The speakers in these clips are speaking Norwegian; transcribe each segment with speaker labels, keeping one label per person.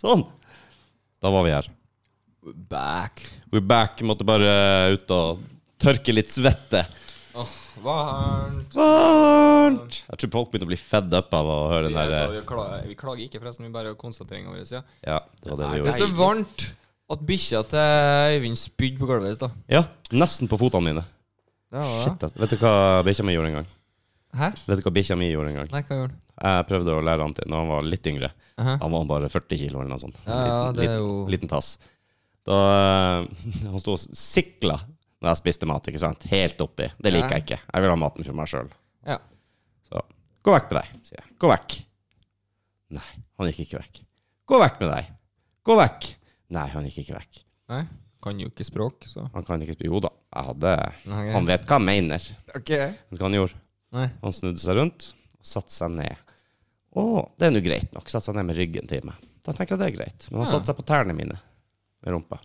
Speaker 1: Sånn. Da var vi her.
Speaker 2: Back.
Speaker 1: We're back. Måtte bare ut og tørke litt svette.
Speaker 2: varmt.
Speaker 1: Varmt. Jeg tror folk begynte å bli fed up av å høre den
Speaker 2: Vi, er,
Speaker 1: der eh,
Speaker 2: vi, klager, vi klager ikke, forresten. Vi bare konstaterer over oss, ja.
Speaker 1: Ja, det var det vi
Speaker 2: Det
Speaker 1: gjorde.
Speaker 2: er så varmt at bikkja til Øyvind spydde på gulvet i stad.
Speaker 1: Ja, nesten på fotene mine.
Speaker 2: Det var
Speaker 1: Shit,
Speaker 2: det.
Speaker 1: ass. Vet du hva bikkja mi gjorde en gang?
Speaker 2: Hæ?
Speaker 1: Vet du hva bikkja mi gjorde en gang?
Speaker 2: Nei, hva gjorde han?
Speaker 1: Jeg prøvde å lære han til når han var litt yngre.
Speaker 2: Aha.
Speaker 1: Han var bare 40 kilo eller noe sånt.
Speaker 2: Ja, ja, det er jo-
Speaker 1: liten, liten tass. Da, eh, han sto og sikla når jeg spiste mat, ikke sant? Helt oppi. Det liker
Speaker 2: Ja.
Speaker 1: jeg ikke. Jeg vil ha maten for meg sjøl.
Speaker 2: Ja.
Speaker 1: Så gå vekk med deg, sier jeg. Gå vekk. Nei, han gikk ikke vekk. Gå vekk med deg. Gå vekk. Nei, han gikk ikke vekk.
Speaker 2: Nei, kan jo ikke språk, så
Speaker 1: Han kan ikke sp- Jo da, jeg hadde
Speaker 2: Nei.
Speaker 1: Han vet hva jeg mener.
Speaker 2: Ok.
Speaker 1: Vet du hva han gjorde?
Speaker 2: Nei.
Speaker 1: Han snudde seg rundt og satte seg ned. Å, det er nå greit nok. Satte seg ned med ryggen til meg. Da tenker jeg det er greit. Men han
Speaker 2: Ja.
Speaker 1: satte seg på tærne mine med rumpa.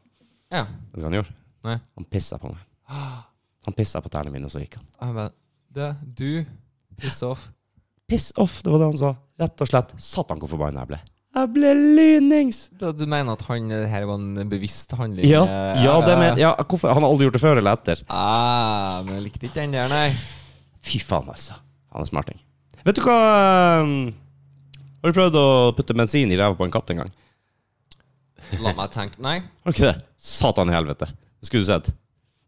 Speaker 2: Ja.
Speaker 1: Vet du hva han gjorde?
Speaker 2: Nei.
Speaker 1: Han pissa på meg. Han pissa på tærne mine, og så gikk han.
Speaker 2: Jeg bare Det, du Piss off.
Speaker 1: Piss off, det var det han sa. Rett og slett. Satan, hvor forbanna jeg ble. Jeg ble lynings!
Speaker 2: Da, du mener at han eh, her var en bevisst handling?
Speaker 1: Ja,
Speaker 2: eh,
Speaker 1: ja, det men,
Speaker 2: eh,
Speaker 1: ja, hvorfor? Han har aldri gjort det før eller etter.
Speaker 2: Ah, men jeg likte ikke den der, nei.
Speaker 1: Fy faen, altså. Han er smarting. Vet du hva ehm, Har du prøvd å putte bensin i ræva på en katt en gang?
Speaker 2: La meg tenke. Nei.
Speaker 1: Har du ikke det? Satan i helvete. Det skulle du sett.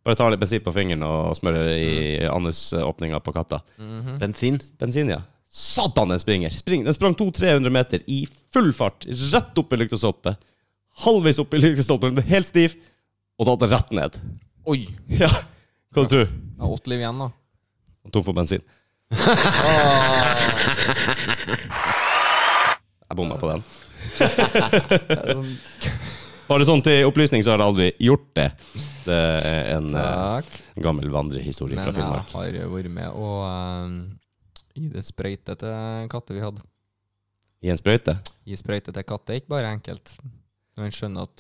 Speaker 1: Bare ta litt bensin på fingeren og smøre i anusåpninga på katta.
Speaker 3: Bensin.
Speaker 1: Bensin, ja. Satan, den springer! Spring. Den sprang 200-300 meter i full fart, rett opp i lyktestolpen. Halvveis opp i lyktestolpen, ble helt stiv, og datt rett ned.
Speaker 2: Oi.
Speaker 1: Ja, hva du tror du?
Speaker 2: Jeg har åtte liv igjen, da.
Speaker 1: Han tom for bensin. Jeg bomma på den. Bare sånn til opplysning, så har jeg aldri gjort det. Det er en eh,
Speaker 2: Takk.
Speaker 1: gammel vandrehistorie
Speaker 2: Men
Speaker 1: fra
Speaker 2: jeg
Speaker 1: Finnmark.
Speaker 2: har vært med å eh, gi det sprøyte til katter vi hadde.
Speaker 1: I en sprøyte?
Speaker 2: Gi sprøyte til katter er ikke bare enkelt. Når en skjønner at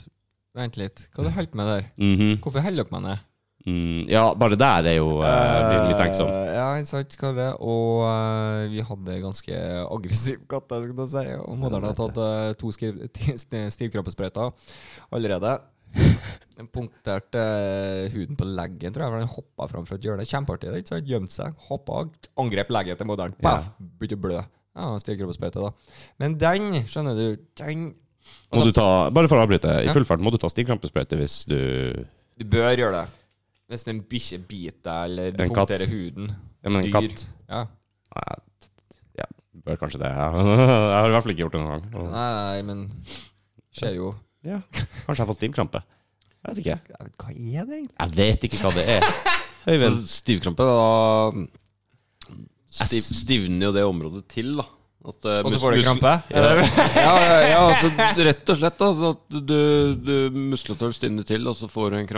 Speaker 2: Vent litt, hva har du holdt med der?
Speaker 1: Mhm.
Speaker 2: Hvorfor holder dere meg ned?
Speaker 1: mm, ja, bare der er jo uh, mistenksom.
Speaker 2: Eh, Ja, ikke sant, hva er det? Og eh, vi hadde ganske aggressiv katt, jeg skulle si. Og moderen har tatt eh, to skriv- ti- sti- stivkrampesprøyter allerede. Den Punkterte eh, huden på leggen, tror jeg, for den hoppa fram fra et hjørne. Kjempeartig, det, ikke sant? Gjemte seg, hoppa, angrep leggen til moderen. Paff! Begynte å blø. Ja, stivkrampesprøyte, da. Men den, skjønner du, den
Speaker 1: Må du ta, bare for å avbryte, i full fart, må du ta stivkrampesprøyte hvis du
Speaker 2: Du bør gjøre det. Hvis en bikkje biter deg eller
Speaker 1: En katt.
Speaker 2: punkterer huden.
Speaker 1: Ja, men en
Speaker 2: Dyr.
Speaker 1: katt
Speaker 2: Ja.
Speaker 1: Nei, Ja, bør kanskje det. ja. Jeg har i hvert fall ikke gjort det noen gang. Og-
Speaker 2: Nei, nei, men skjer jo.
Speaker 1: Ja, kanskje jeg har fått stivkrampe. Jeg vet ikke.
Speaker 2: Hva er det egentlig?
Speaker 1: Jeg vet ikke hva det er.
Speaker 3: Så
Speaker 1: Øyvind,
Speaker 3: stivkrampe, da stiv, stivner jo det området til, da. At, eh,
Speaker 2: Og så
Speaker 3: mus-
Speaker 2: får du
Speaker 3: mus-
Speaker 2: krampe?
Speaker 3: Ja, ja, ja, altså rett og slett. Da, så at du, du muskeltøl stivner til, og så får du en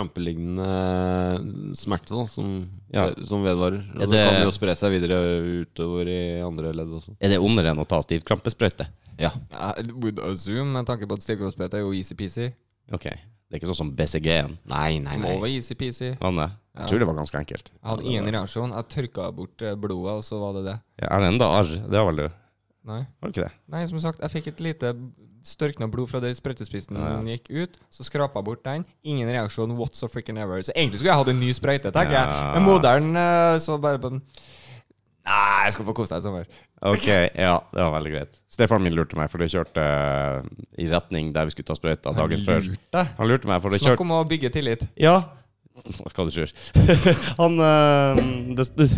Speaker 3: krampelignende smerte da, som,
Speaker 1: Ja.
Speaker 3: som vedvarer. Og
Speaker 1: Er
Speaker 3: det,
Speaker 1: det-
Speaker 3: kan jo spre seg videre utover i andre ledd også.
Speaker 1: er det ondere enn å ta stivkrampesprøyte?
Speaker 3: Ja.
Speaker 2: Ja, would assume, med tanke på at stivkroppsbrett er jo easy-peasy.
Speaker 1: Ok, det er ikke sånn som BCG-en.
Speaker 3: Nei, nei,
Speaker 2: Små var easy-peasy. Jeg
Speaker 1: Anne, jeg tror det var ganske enkelt.
Speaker 2: hadde ingen reaksjon. Jeg tørka bort eh, blodet, og så var det det.
Speaker 1: Ja, er det enda arr? Det har vel du?
Speaker 2: Nei.
Speaker 1: Har du ikke det?
Speaker 2: Nei, som sagt, jeg fikk et lite størkna blod fra der sprøytespissen gikk ut. Så skrapa jeg bort den. Ingen reaksjon what so freaking ever. Så egentlig skulle jeg hatt en ny sprøyte, tenker jeg.
Speaker 1: Ja.
Speaker 2: Men moderen eh, så bare på den. Nei, jeg skal få kose deg i sommer.
Speaker 1: Ok, ja, det var veldig greit. Stefaren min lurte meg, for det kjørte eh, i retning der vi skulle ta sprøyta dagen før.
Speaker 2: Lurte.
Speaker 1: Han lurte meg, for det kjørte
Speaker 2: Snakk om å bygge tillit.
Speaker 1: Ja. Hva du tror. Han eh, det, det,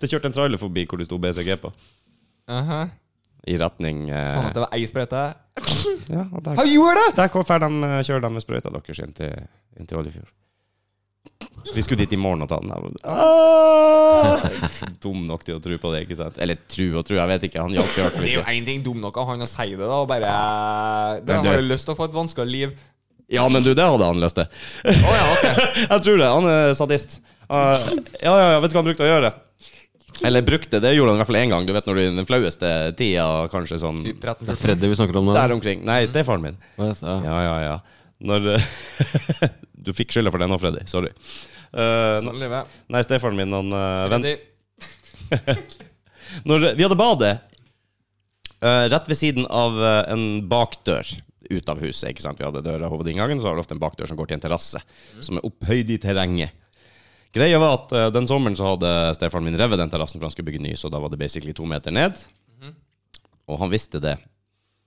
Speaker 1: det kjørte en trailer forbi hvor det sto BCG på.
Speaker 2: Aha.
Speaker 1: I retning eh,
Speaker 2: Sånn at det var ei sprøyte.
Speaker 1: Ja, og der,
Speaker 2: Han gjorde det!
Speaker 1: der kom fer de, eh, kjører de med sprøyta deres inn til, inn til Oljefjord. Vi skulle dit i morgen og ta den. Jeg var- Ah! Jeg er ikke så Dum nok til å tro på det, ikke sant? Eller tro og tro, jeg vet ikke. Han hjalp i hvert fall
Speaker 2: Det er jo
Speaker 1: ikke.
Speaker 2: én ting dum nok av han å si det, da, og bare Det
Speaker 1: Men du-
Speaker 2: har jo lyst til å få et vanskeligere liv.
Speaker 1: Ja, men du, det hadde han lyst til. Jeg tror det. Han er sadist. Ah, ja, ja, ja, vet du hva han brukte å gjøre? Eller brukte, det gjorde han i hvert fall én gang. Du vet når du er i den flaueste tida, kanskje sånn
Speaker 2: Typ 13
Speaker 3: Det er Freddy vi snakker om nå.
Speaker 1: Der omkring. Nei, stefaren min.
Speaker 3: Hva jeg sa?
Speaker 1: Ja, ja, ja. Når eh, Du fikk skylda for det nå, Freddy. Sorry. Eh,
Speaker 2: Sånn livet.
Speaker 1: nei, stefaren min, han eh, vent-
Speaker 2: Freddy.
Speaker 1: Når vi hadde badet eh, rett ved siden av eh, en bakdør ut av huset. ikke sant? Vi hadde døra hovedinngangen, og så har du ofte en bakdør som går til en terrasse, som er opphøyd i terrenget. Greia var at eh, den sommeren så hadde stefaren min revet den terrassen for han skulle bygge ny, så da var det basically to meter ned. Og han visste det.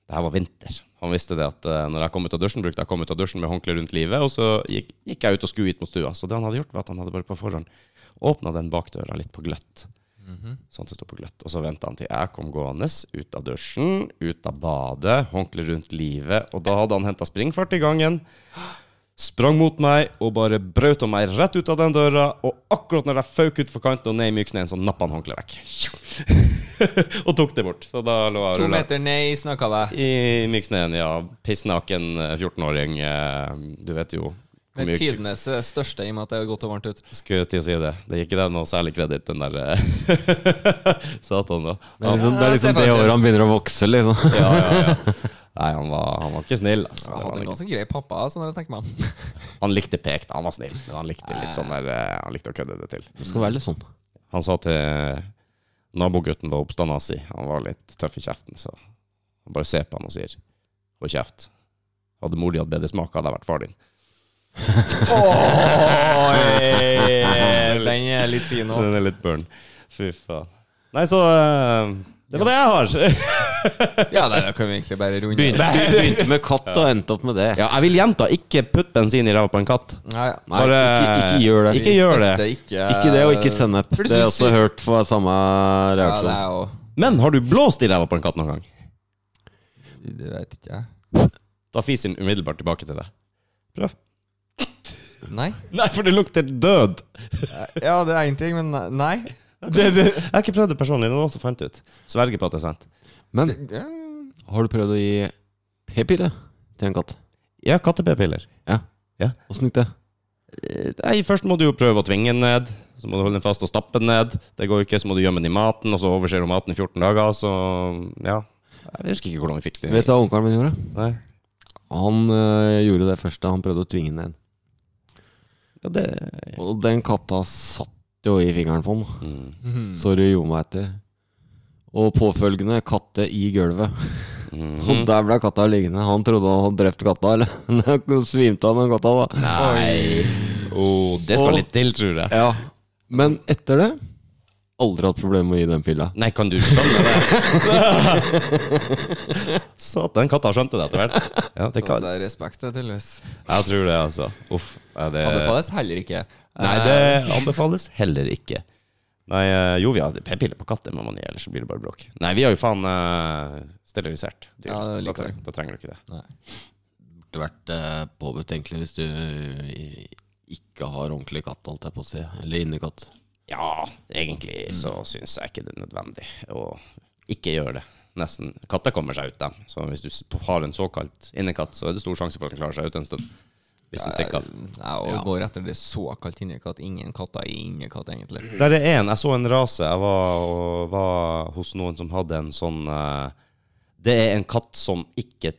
Speaker 1: Det her var vinter. Han visste det at eh, når jeg kom ut av dusjen, brukte jeg å komme ut av dusjen med håndkle rundt livet, og så gikk, gikk jeg ut og skulle hit mot stua. Så det han hadde gjort, var at han hadde bare på forhånd åpna den bakdøra litt på gløtt. Sånn at det stod på gløtt. Og så venta han til jeg kom gående ut av dusjen, ut av badet, håndkle rundt livet, og da hadde han henta springfart i gangen sprang mot meg og bare brøt om meg rett ut av den døra. Og akkurat når jeg føk utfor kanten og ned i myksneen, så nappa han håndkleet vekk. og tok det bort. Så da lå jeg
Speaker 2: To
Speaker 1: og rulla
Speaker 2: meter ned i snakka jeg.
Speaker 1: i myksneen, ja. Pissnaken eh, 14-åring. eh, Du vet jo hvor
Speaker 2: Med
Speaker 1: mye kuk-
Speaker 2: tidenes eh, største, i og med at det er godt og varmt ut.
Speaker 1: Skulle til å si det. Det gikk ikke den noe særlig kreditt, den der eh, Satan, da.
Speaker 3: Det er liksom det, er liksom
Speaker 2: Stefan
Speaker 3: det
Speaker 2: Kjell.
Speaker 3: året han begynner å vokse, liksom.
Speaker 1: Ja, ja, ja. Nei, han var, han var ikke snill. Altså. Det
Speaker 2: Jeg
Speaker 1: var
Speaker 2: hadde
Speaker 1: han
Speaker 2: en
Speaker 1: ikke.
Speaker 2: ganske grei pappa, sånn når jeg tenker meg om.
Speaker 1: Han likte pekt, han var snill. Men han likte litt sånn der eh, Han likte å kødde det til.
Speaker 3: Det skal være litt sånn.
Speaker 1: Han sa til nabogutten var oppstanda si. Han var litt tøff i kjeften, så han bare ser på han og sier Hold kjeft. Hadde mor di hatt bedre smak, hadde jeg vært far din.
Speaker 2: Oi, den er litt fin òg.
Speaker 1: Den er litt burn. Fy faen. Nei, så eh, Det var det jeg har.
Speaker 2: Ja, nei, da kan vi egentlig bare runde
Speaker 3: Begynte, begynte med katt og endte opp med det.
Speaker 1: ja, jeg vil gjenta, ikke putt bensin i ræva på en katt.
Speaker 2: Nei,
Speaker 3: Nei,
Speaker 1: Bare-
Speaker 3: ikke, ikke gjør det.
Speaker 1: Ikke gjør det.
Speaker 2: støtter Ikke,
Speaker 3: Ikke det, og ikke sennep.
Speaker 2: For
Speaker 3: Det har jeg også
Speaker 2: synes-
Speaker 3: hørt fra samme
Speaker 2: Ja, det
Speaker 3: reaksjon.
Speaker 2: er jo
Speaker 1: Men har du blåst i ræva på en katt noen gang?
Speaker 2: Det vet ikke jeg.
Speaker 1: Da fiser den umiddelbart tilbake til deg. Prøv.
Speaker 2: Nei.
Speaker 1: Nei, for det lukter død.
Speaker 2: Ja, det er én ting, men nei.
Speaker 1: Jeg har ikke prøvd det personlig. Det er noen som fant det ut. Sverger på at det er sant.
Speaker 3: Men
Speaker 2: Ja,
Speaker 3: har du prøvd å gi p-pille til en katt?
Speaker 1: Ja, katte-p-piller.
Speaker 3: Åssen gikk det?
Speaker 1: Eh, Nei, først må du jo prøve å tvinge den ned. Så må du holde den fast og stappe den ned. Det går jo ikke, så må du gjemme den i maten, og så overser du maten i 14 dager, så ja. Jeg husker ikke hvordan vi fikk det.
Speaker 3: Vet du hva onkelen min gjorde?
Speaker 1: Nei.
Speaker 3: Han øh, gjorde det første. Han prøvde å tvinge den ned.
Speaker 1: Ja, det
Speaker 3: Og den katta satt jo i fingeren på den.
Speaker 1: mm.
Speaker 3: Så du gjorde meg etter. Og påfølgende katte i gulvet.
Speaker 1: Mm.
Speaker 3: Og der ble katta liggende. Han trodde han hadde drept katta, eller? Men svimte han den katta, da.
Speaker 1: Nei. Oh, det skal
Speaker 3: Og-
Speaker 1: litt til, tror jeg.
Speaker 3: Ja. Men etter det Aldri hatt problemer med å gi den pilla.
Speaker 1: Nei, kan du skjønne det? Satan, katta skjønte det etter hvert. Ja, det
Speaker 2: sånn så
Speaker 1: kan.
Speaker 2: det er respekt, det, tydeligvis.
Speaker 1: Jeg tror det, altså. Uff. Nei, det,
Speaker 2: Anbefales heller ikke. Eh,
Speaker 1: nei, det anbefales heller ikke. Nei, eh, jo, vi har p-piller på katter, må man gi, ellers så blir det bare bråk. Nei, vi har jo faen eh, sterilisert dyr.
Speaker 2: Ja, det
Speaker 1: da,
Speaker 2: liker jeg.
Speaker 1: treng- da trenger du ikke det.
Speaker 3: burde vært eh, påbudt, egentlig, hvis du eh, ikke har ordentlig katt, holdt jeg på å si. Eller innekatt.
Speaker 1: Ja, egentlig så syns jeg ikke det er nødvendig å ikke gjøre det. Nesten. Katter kommer seg ut, dem. Så hvis du s- har en såkalt innekatt, så er det stor sjanse for at den klarer seg ut en stund. Hvis den stikker av.
Speaker 2: Ja, og går etter det såkalt innekatt. Ingen katter er innekatt, egentlig.
Speaker 1: Der er en. Jeg så en rase. Jeg var, og var hos noen som hadde en sånn eh, Det er en katt som ikke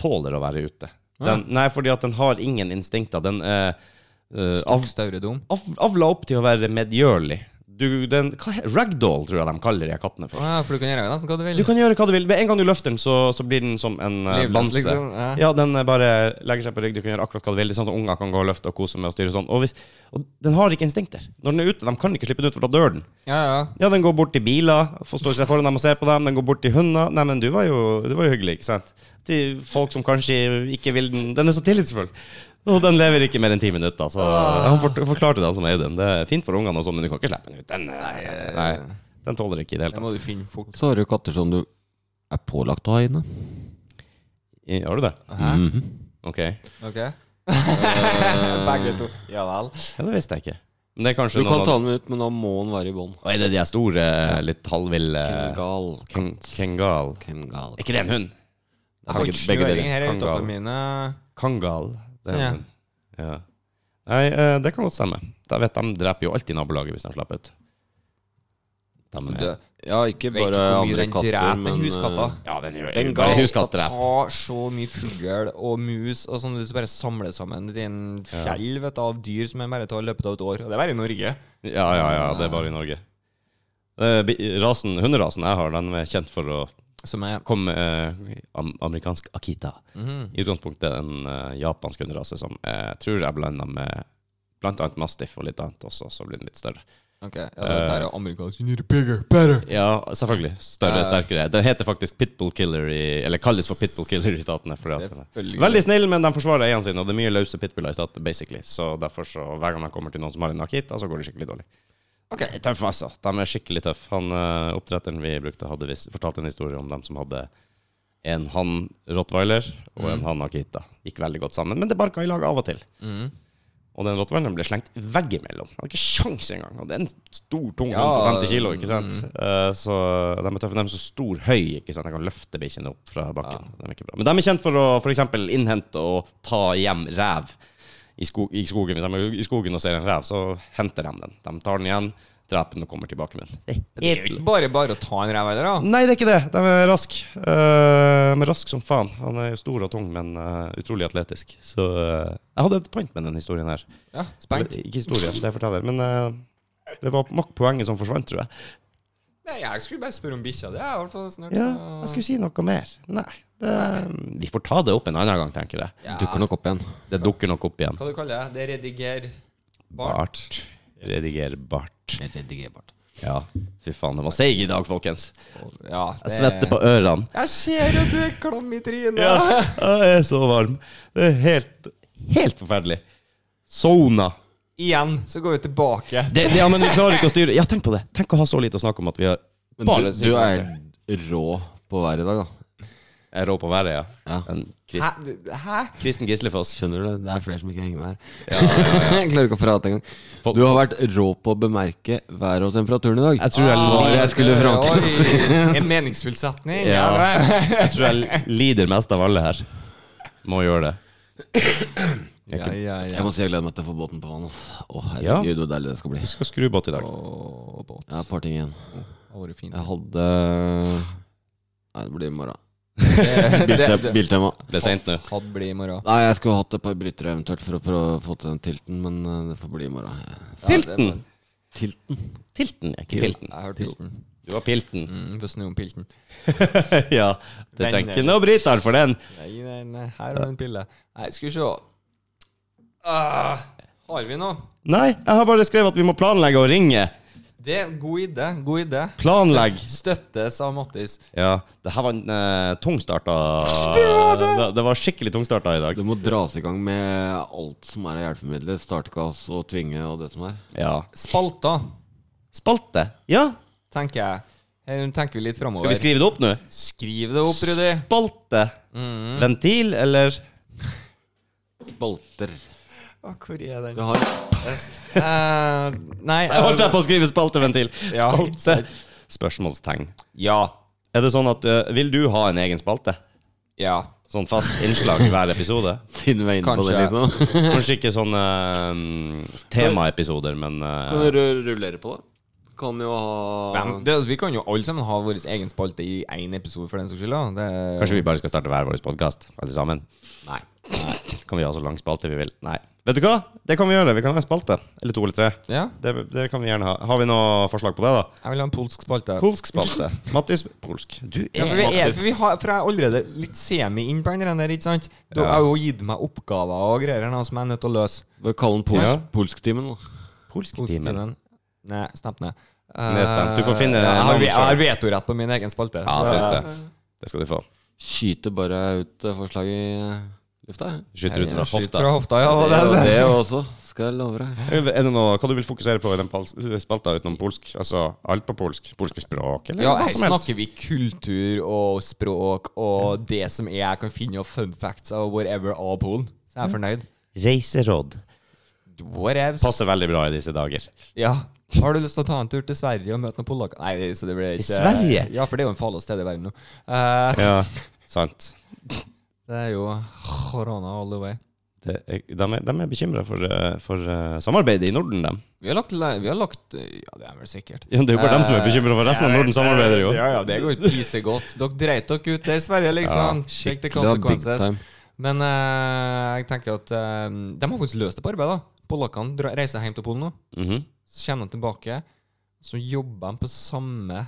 Speaker 1: tåler å være ute. Den, nei, fordi at den har ingen instinkter. Den er eh, av,
Speaker 2: Stokk stauredom.
Speaker 1: av, avla opp til å være medgjørlig. Du, den, hva, he- ragdoll, tror jeg de kaller de kattene for.
Speaker 2: Ja, for du kan gjøre nesten hva du vil.
Speaker 1: Du kan gjøre hva du vil. Med en gang du løfter den, så, så blir den som en eh,
Speaker 2: Livløs,
Speaker 1: bamse.
Speaker 2: liksom, ja.
Speaker 1: Ja, Den eh, bare legger seg på rygg. Du kan gjøre akkurat hva du vil. Det er Sånn at Unger kan gå og løfte og kose med og styre sånn. Og, hvis, og den har ikke instinkter. Når den er ute, de kan ikke slippe den ut, for da dør den.
Speaker 2: Ja, ja.
Speaker 1: Ja, den går bort til biler, får stå seg foran dem og se på dem. Den går bort til hunder. Nei, men du var jo, du var jo hyggelig, ikke sant? Til folk som kanskje ikke vil den. Den er så tillitsfull. Og den lever ikke mer enn ti minutter. Så
Speaker 2: Ah.
Speaker 1: han fort- forklarte det, han som eier den. Det er fint for ungene og sånn, men du kan ikke slippe den ut. Den, eh, nei, den tåler ikke i det
Speaker 2: Det
Speaker 1: hele tatt.
Speaker 2: må du finne fort.
Speaker 3: Så har du katter som du er pålagt å ha inne. Mhm.
Speaker 1: I- Har du det?
Speaker 2: Hæ?
Speaker 1: Ok. Ja,
Speaker 2: Ok. Begge to. Ja vel.
Speaker 1: det visste jeg ikke. Men det er kanskje
Speaker 3: Du kan
Speaker 1: noen
Speaker 3: ta
Speaker 1: av...
Speaker 3: den ut, men da må den være i bånd.
Speaker 1: Å, er det de er store, eh, litt halvville
Speaker 3: Eh, Kengal.
Speaker 1: ken- Kengal.
Speaker 3: Kengal.
Speaker 1: Er ikke det en hund?
Speaker 2: Det er
Speaker 1: Begge- begge
Speaker 2: snøring
Speaker 1: deler.
Speaker 2: her
Speaker 1: Kangal.
Speaker 2: utenfor mine
Speaker 1: Kangal. Det er
Speaker 2: Ja.
Speaker 1: den. ja. Nei, eh, det kan godt stemme. Da vet De dreper jo alltid nabolaget hvis de slipper ut. De, eh,
Speaker 2: Du,
Speaker 3: Ja, ikke
Speaker 2: Vet
Speaker 3: bare
Speaker 2: ikke hvor mye
Speaker 3: andre
Speaker 2: den
Speaker 3: katter,
Speaker 2: dreper,
Speaker 3: men
Speaker 2: den huskatta.
Speaker 3: eh,
Speaker 1: ja, den gjør
Speaker 3: Den
Speaker 1: bare
Speaker 3: ga-
Speaker 1: huskattdrep.
Speaker 2: tar så mye fugl og mus og sånn, du bare samler sammen i en fjell vet du, av dyr som er bare til å løpe av et år. Og det er bare i Norge.
Speaker 1: Ja, ja, ja. Det er bare i Norge. Eh, bi- Rasen, Hunderasen jeg har, den er kjent for å
Speaker 2: Som er
Speaker 1: Kom eh, am amerikansk Akita.
Speaker 2: Mhm.
Speaker 1: I utgangspunktet en eh, japansk hunderase som jeg tror jeg blanda med blant annet mastiff og litt annet også, så blir den litt større.
Speaker 2: Ok, ja, det
Speaker 1: Eh.
Speaker 2: er bare amerikansk You need it bigger, better
Speaker 1: Ja, selvfølgelig. Større,
Speaker 2: Eh.
Speaker 1: sterkere. Den heter faktisk Pitbull Killer i Eller kalles for Pitbull Killer i statene. Fordi at den er
Speaker 2: Selvfølgelig
Speaker 1: Veldig snill, men de forsvarer eierne sine, og det er mye løse pitbuller i staten, basically. Så derfor, så hver gang de kommer til noen som har en akita, så går det skikkelig dårlig.
Speaker 2: Ok.
Speaker 1: Tøff, altså. De er skikkelig tøff. Han eh, oppdretteren vi brukte, hadde visst- fortalt en historie om dem som hadde en han rottweiler og en han akita. Gikk veldig godt sammen, men det barka i lag av og til.
Speaker 2: Mhm.
Speaker 1: Og den rottweileren ble slengt veggimellom. Han hadde ikke sjans engang. Og det er en stor, tung hund på
Speaker 2: Ja, Mm.
Speaker 1: 50 kilo, ikke sant. Eh, så de er tøffe. De er så stor høy, ikke sant. De kan løfte bikkjene opp fra bakken. De er ikke bra. Men de er kjent for å f.eks. innhente og ta hjem rev i, skog, i skogen. Hvis de er i skogen og ser en rev, så henter de den. De tar den igjen, dreper den og kommer tilbake med den. Det
Speaker 2: Det er jo ikke bare bare å ta en rev heller da
Speaker 1: Nei, det er ikke det. De er raske. De er raske som faen. Han er jo stor og tung, men eh, utrolig atletisk. Så eh, jeg hadde et point med den historien her.
Speaker 2: Ja, spengt
Speaker 1: Eller, Ikke historien, det forteller. Men eh, det var nok poenget som forsvant, tror jeg.
Speaker 2: Nei, jeg skulle bare spørre om bikkja Det er i hvert fall snart
Speaker 1: Ja,
Speaker 2: så-
Speaker 1: jeg skulle si noe mer. Nei. Det, vi får ta det opp en annen gang, tenker jeg.
Speaker 2: ja.
Speaker 3: Dukker nok opp igjen.
Speaker 1: Det dukker nok opp igjen.
Speaker 2: Hva du kaller det? Det er rediger Bart
Speaker 1: Bart. Redigerbart.
Speaker 2: Redigerbart
Speaker 1: Ja. Fy faen, det var seig i dag, folkens.
Speaker 2: Ja, det
Speaker 1: Jeg svetter på ørene.
Speaker 2: Jeg ser at du er klam i trynet
Speaker 1: Ja, jeg er så varm. Det er helt, helt forferdelig. Sona.
Speaker 2: Igjen, så går vi tilbake
Speaker 1: Det, det, ja, men vi klarer ikke å styre Ja, tenk på det. Tenk å ha så lite å snakke om at vi har
Speaker 3: Men du,
Speaker 1: bare
Speaker 3: du er rå på været i dag, da.
Speaker 1: Jeg rår på været, ja.
Speaker 3: Ja.
Speaker 1: En krist,
Speaker 2: Hæ? Hæ?
Speaker 1: kristen Gislefoss.
Speaker 3: Skjønner du? det? Det er flere som ikke henger med her. jeg klarer ikke å prate engang. Du har vært rå på å bemerke været og temperaturen i dag.
Speaker 1: Jeg tror jeg
Speaker 2: Ah,
Speaker 1: lo-
Speaker 3: Hva jeg skulle fram til.
Speaker 2: oi, En meningsfull setning
Speaker 1: Ja.
Speaker 2: ja.
Speaker 1: Jeg tror jeg lider mest av alle her. Må gjøre det.
Speaker 2: Ja, ja, ja.
Speaker 3: Jeg må si jeg gleder meg til å få båten på vann. ass. Å,
Speaker 1: Ja.
Speaker 3: herregud, hvor deilig det skal bli.
Speaker 1: Vi skal skru båt i dag.
Speaker 2: Og båt.
Speaker 3: Ja, et par ting igjen.
Speaker 2: Det har vært fint.
Speaker 3: Jeg hadde Nei, det blir i morgen.
Speaker 2: Det- det-
Speaker 3: Bilte-
Speaker 2: det-
Speaker 3: Biltema.
Speaker 1: Det er seint nå.
Speaker 2: Hadde blitt i morgen.
Speaker 3: Nei, jeg skulle hatt et par brytere eventuelt for å prøve å få til den tilten, men eh, det får bli i morgen.
Speaker 2: Ja, det-
Speaker 1: Pilten!
Speaker 3: Tilten?
Speaker 1: Pilten, ja. Ikke pilten.
Speaker 2: Jeg hørte pilten.
Speaker 1: Du var pilten.
Speaker 2: Mm, for snø om pilten.
Speaker 1: ja. Det trenger ikke noe bryter for den.
Speaker 2: Nei, nei, nei, her har du en pille. Nei, skal vi se. Ah, har vi noe?
Speaker 1: Nei, jeg har bare skrevet at vi må planlegge å ringe.
Speaker 2: Det er god idé. God idé.
Speaker 1: Planlegg.
Speaker 2: Støttes av Mattis.
Speaker 1: Ja. Det her var en eh, tungstarta det, det var skikkelig tungstarta i dag.
Speaker 3: Det må dras i gang med alt som er av hjelpemidler. Startgass og tvinge og det som er.
Speaker 1: Ja.
Speaker 2: Spalta,
Speaker 1: Spalte. Ja.
Speaker 2: tenker jeg. Her tenker vi litt framover.
Speaker 1: Skal vi skrive det opp nå?
Speaker 2: Skriv det opp, Rudi.
Speaker 1: Spalte. Mm. Ventil, eller
Speaker 3: Spalter.
Speaker 2: Å, Hvor er den?
Speaker 3: Du har
Speaker 2: Eh, nei
Speaker 1: Jeg holdt deg på å skrive spalteventil.
Speaker 2: Ja,
Speaker 1: Spalte. Spørsmålstegn.
Speaker 2: Ja.
Speaker 1: Er det sånn at ø, Vil du ha en egen spalte?
Speaker 2: Ja.
Speaker 1: Sånn fast innslag i hver episode?
Speaker 3: Siden vi er inne på det,
Speaker 2: Kanskje.
Speaker 3: liksom.
Speaker 1: Kanskje ikke sånne ø, temaepisoder, men eh, ø,
Speaker 3: Kan du ru- rullere på, da? Kan jo ha
Speaker 2: Hvem? Det, vi kan jo alle sammen ha vår egen spalte i én episode, for den saks skyld. da. Det-
Speaker 1: Kanskje vi bare skal starte hver vår podkast, alle sammen?
Speaker 2: Nei.
Speaker 1: Kan vi ha så lang spalte vi vil? Nei. Vet du hva? Det kan vi gjøre. Vi kan ha en spalte. Eller to eller tre.
Speaker 2: Ja,
Speaker 1: Det, det kan vi gjerne ha. Har vi noe forslag på det, da?
Speaker 2: jeg vil ha en polsk spalte.
Speaker 1: Polsk spalte. Mattis Polsk. Du
Speaker 2: ja, for,
Speaker 1: er
Speaker 2: vi er, for, vi har, for jeg er allerede litt semi inn på den greia der, ikke sant? Du
Speaker 1: Ja.
Speaker 2: har jo gitt meg oppgaver og greier her nå som jeg er nødt til å løse.
Speaker 3: Bare Kall den pols
Speaker 1: Ja.
Speaker 3: polsktimen, da.
Speaker 1: Polsktimen.
Speaker 2: Nei, stemp ned.
Speaker 1: Nedstemt. Du får finne
Speaker 2: Eh, Jeg har,
Speaker 1: navnet
Speaker 2: jeg har
Speaker 1: selv.
Speaker 2: vetorett på min egen spalte.
Speaker 1: Ja, jeg syns det. Det skal du få.
Speaker 3: Skyter bare ut eh, forslaget i eh, lufta. jeg.
Speaker 1: Skyter ut fra
Speaker 2: Skyt
Speaker 1: hofta.
Speaker 2: Fra hofta ja,
Speaker 3: Det
Speaker 2: det,
Speaker 3: er
Speaker 2: det,
Speaker 3: jo det også, skal jeg love deg.
Speaker 1: Er det noe hva du vil fokusere på i den pals- spalta utenom polsk? Altså alt på polsk? Polske språk, eller
Speaker 2: ja,
Speaker 1: hva
Speaker 2: her
Speaker 1: som helst?
Speaker 2: snakker vi kultur og språk og det som er jeg kan finne av fun facts av wherever av Polen. Så jeg er fornøyd.
Speaker 1: Reiseråd.
Speaker 2: Whatevs.
Speaker 1: Passer veldig bra i disse dager.
Speaker 2: Ja. Har du lyst til å ta en tur til Sverige og møte noen polakker? Nei, det- så det blir ikke
Speaker 1: Til Sverige?
Speaker 2: Ja, for det er jo en farlig sted i verden nå. Eh,
Speaker 1: Ja, sant.
Speaker 2: Det er jo korona all the way.
Speaker 1: Det, er- de er, de er bekymra for, eh, for eh, samarbeidet i Norden, dem.
Speaker 2: Vi har lagt, le- vi har lagt Ja, det er vel sikkert.
Speaker 1: Ja, Det er jo bare dem som er bekymra for resten av Norden samarbeider, jo.
Speaker 2: Eh, Ja, ja, det går jo pysegodt. Dere dreit dere ut der, Sverige, liksom. Fikk det
Speaker 3: Det er big
Speaker 2: konsekvenser.
Speaker 3: time.
Speaker 2: Men eh, jeg tenker at eh, de har faktisk løst det på arbeid, da. Polakkene dra- reiser hjem til Polen nå.
Speaker 1: Mhm.
Speaker 2: Så kommer de tilbake, så jobber de på samme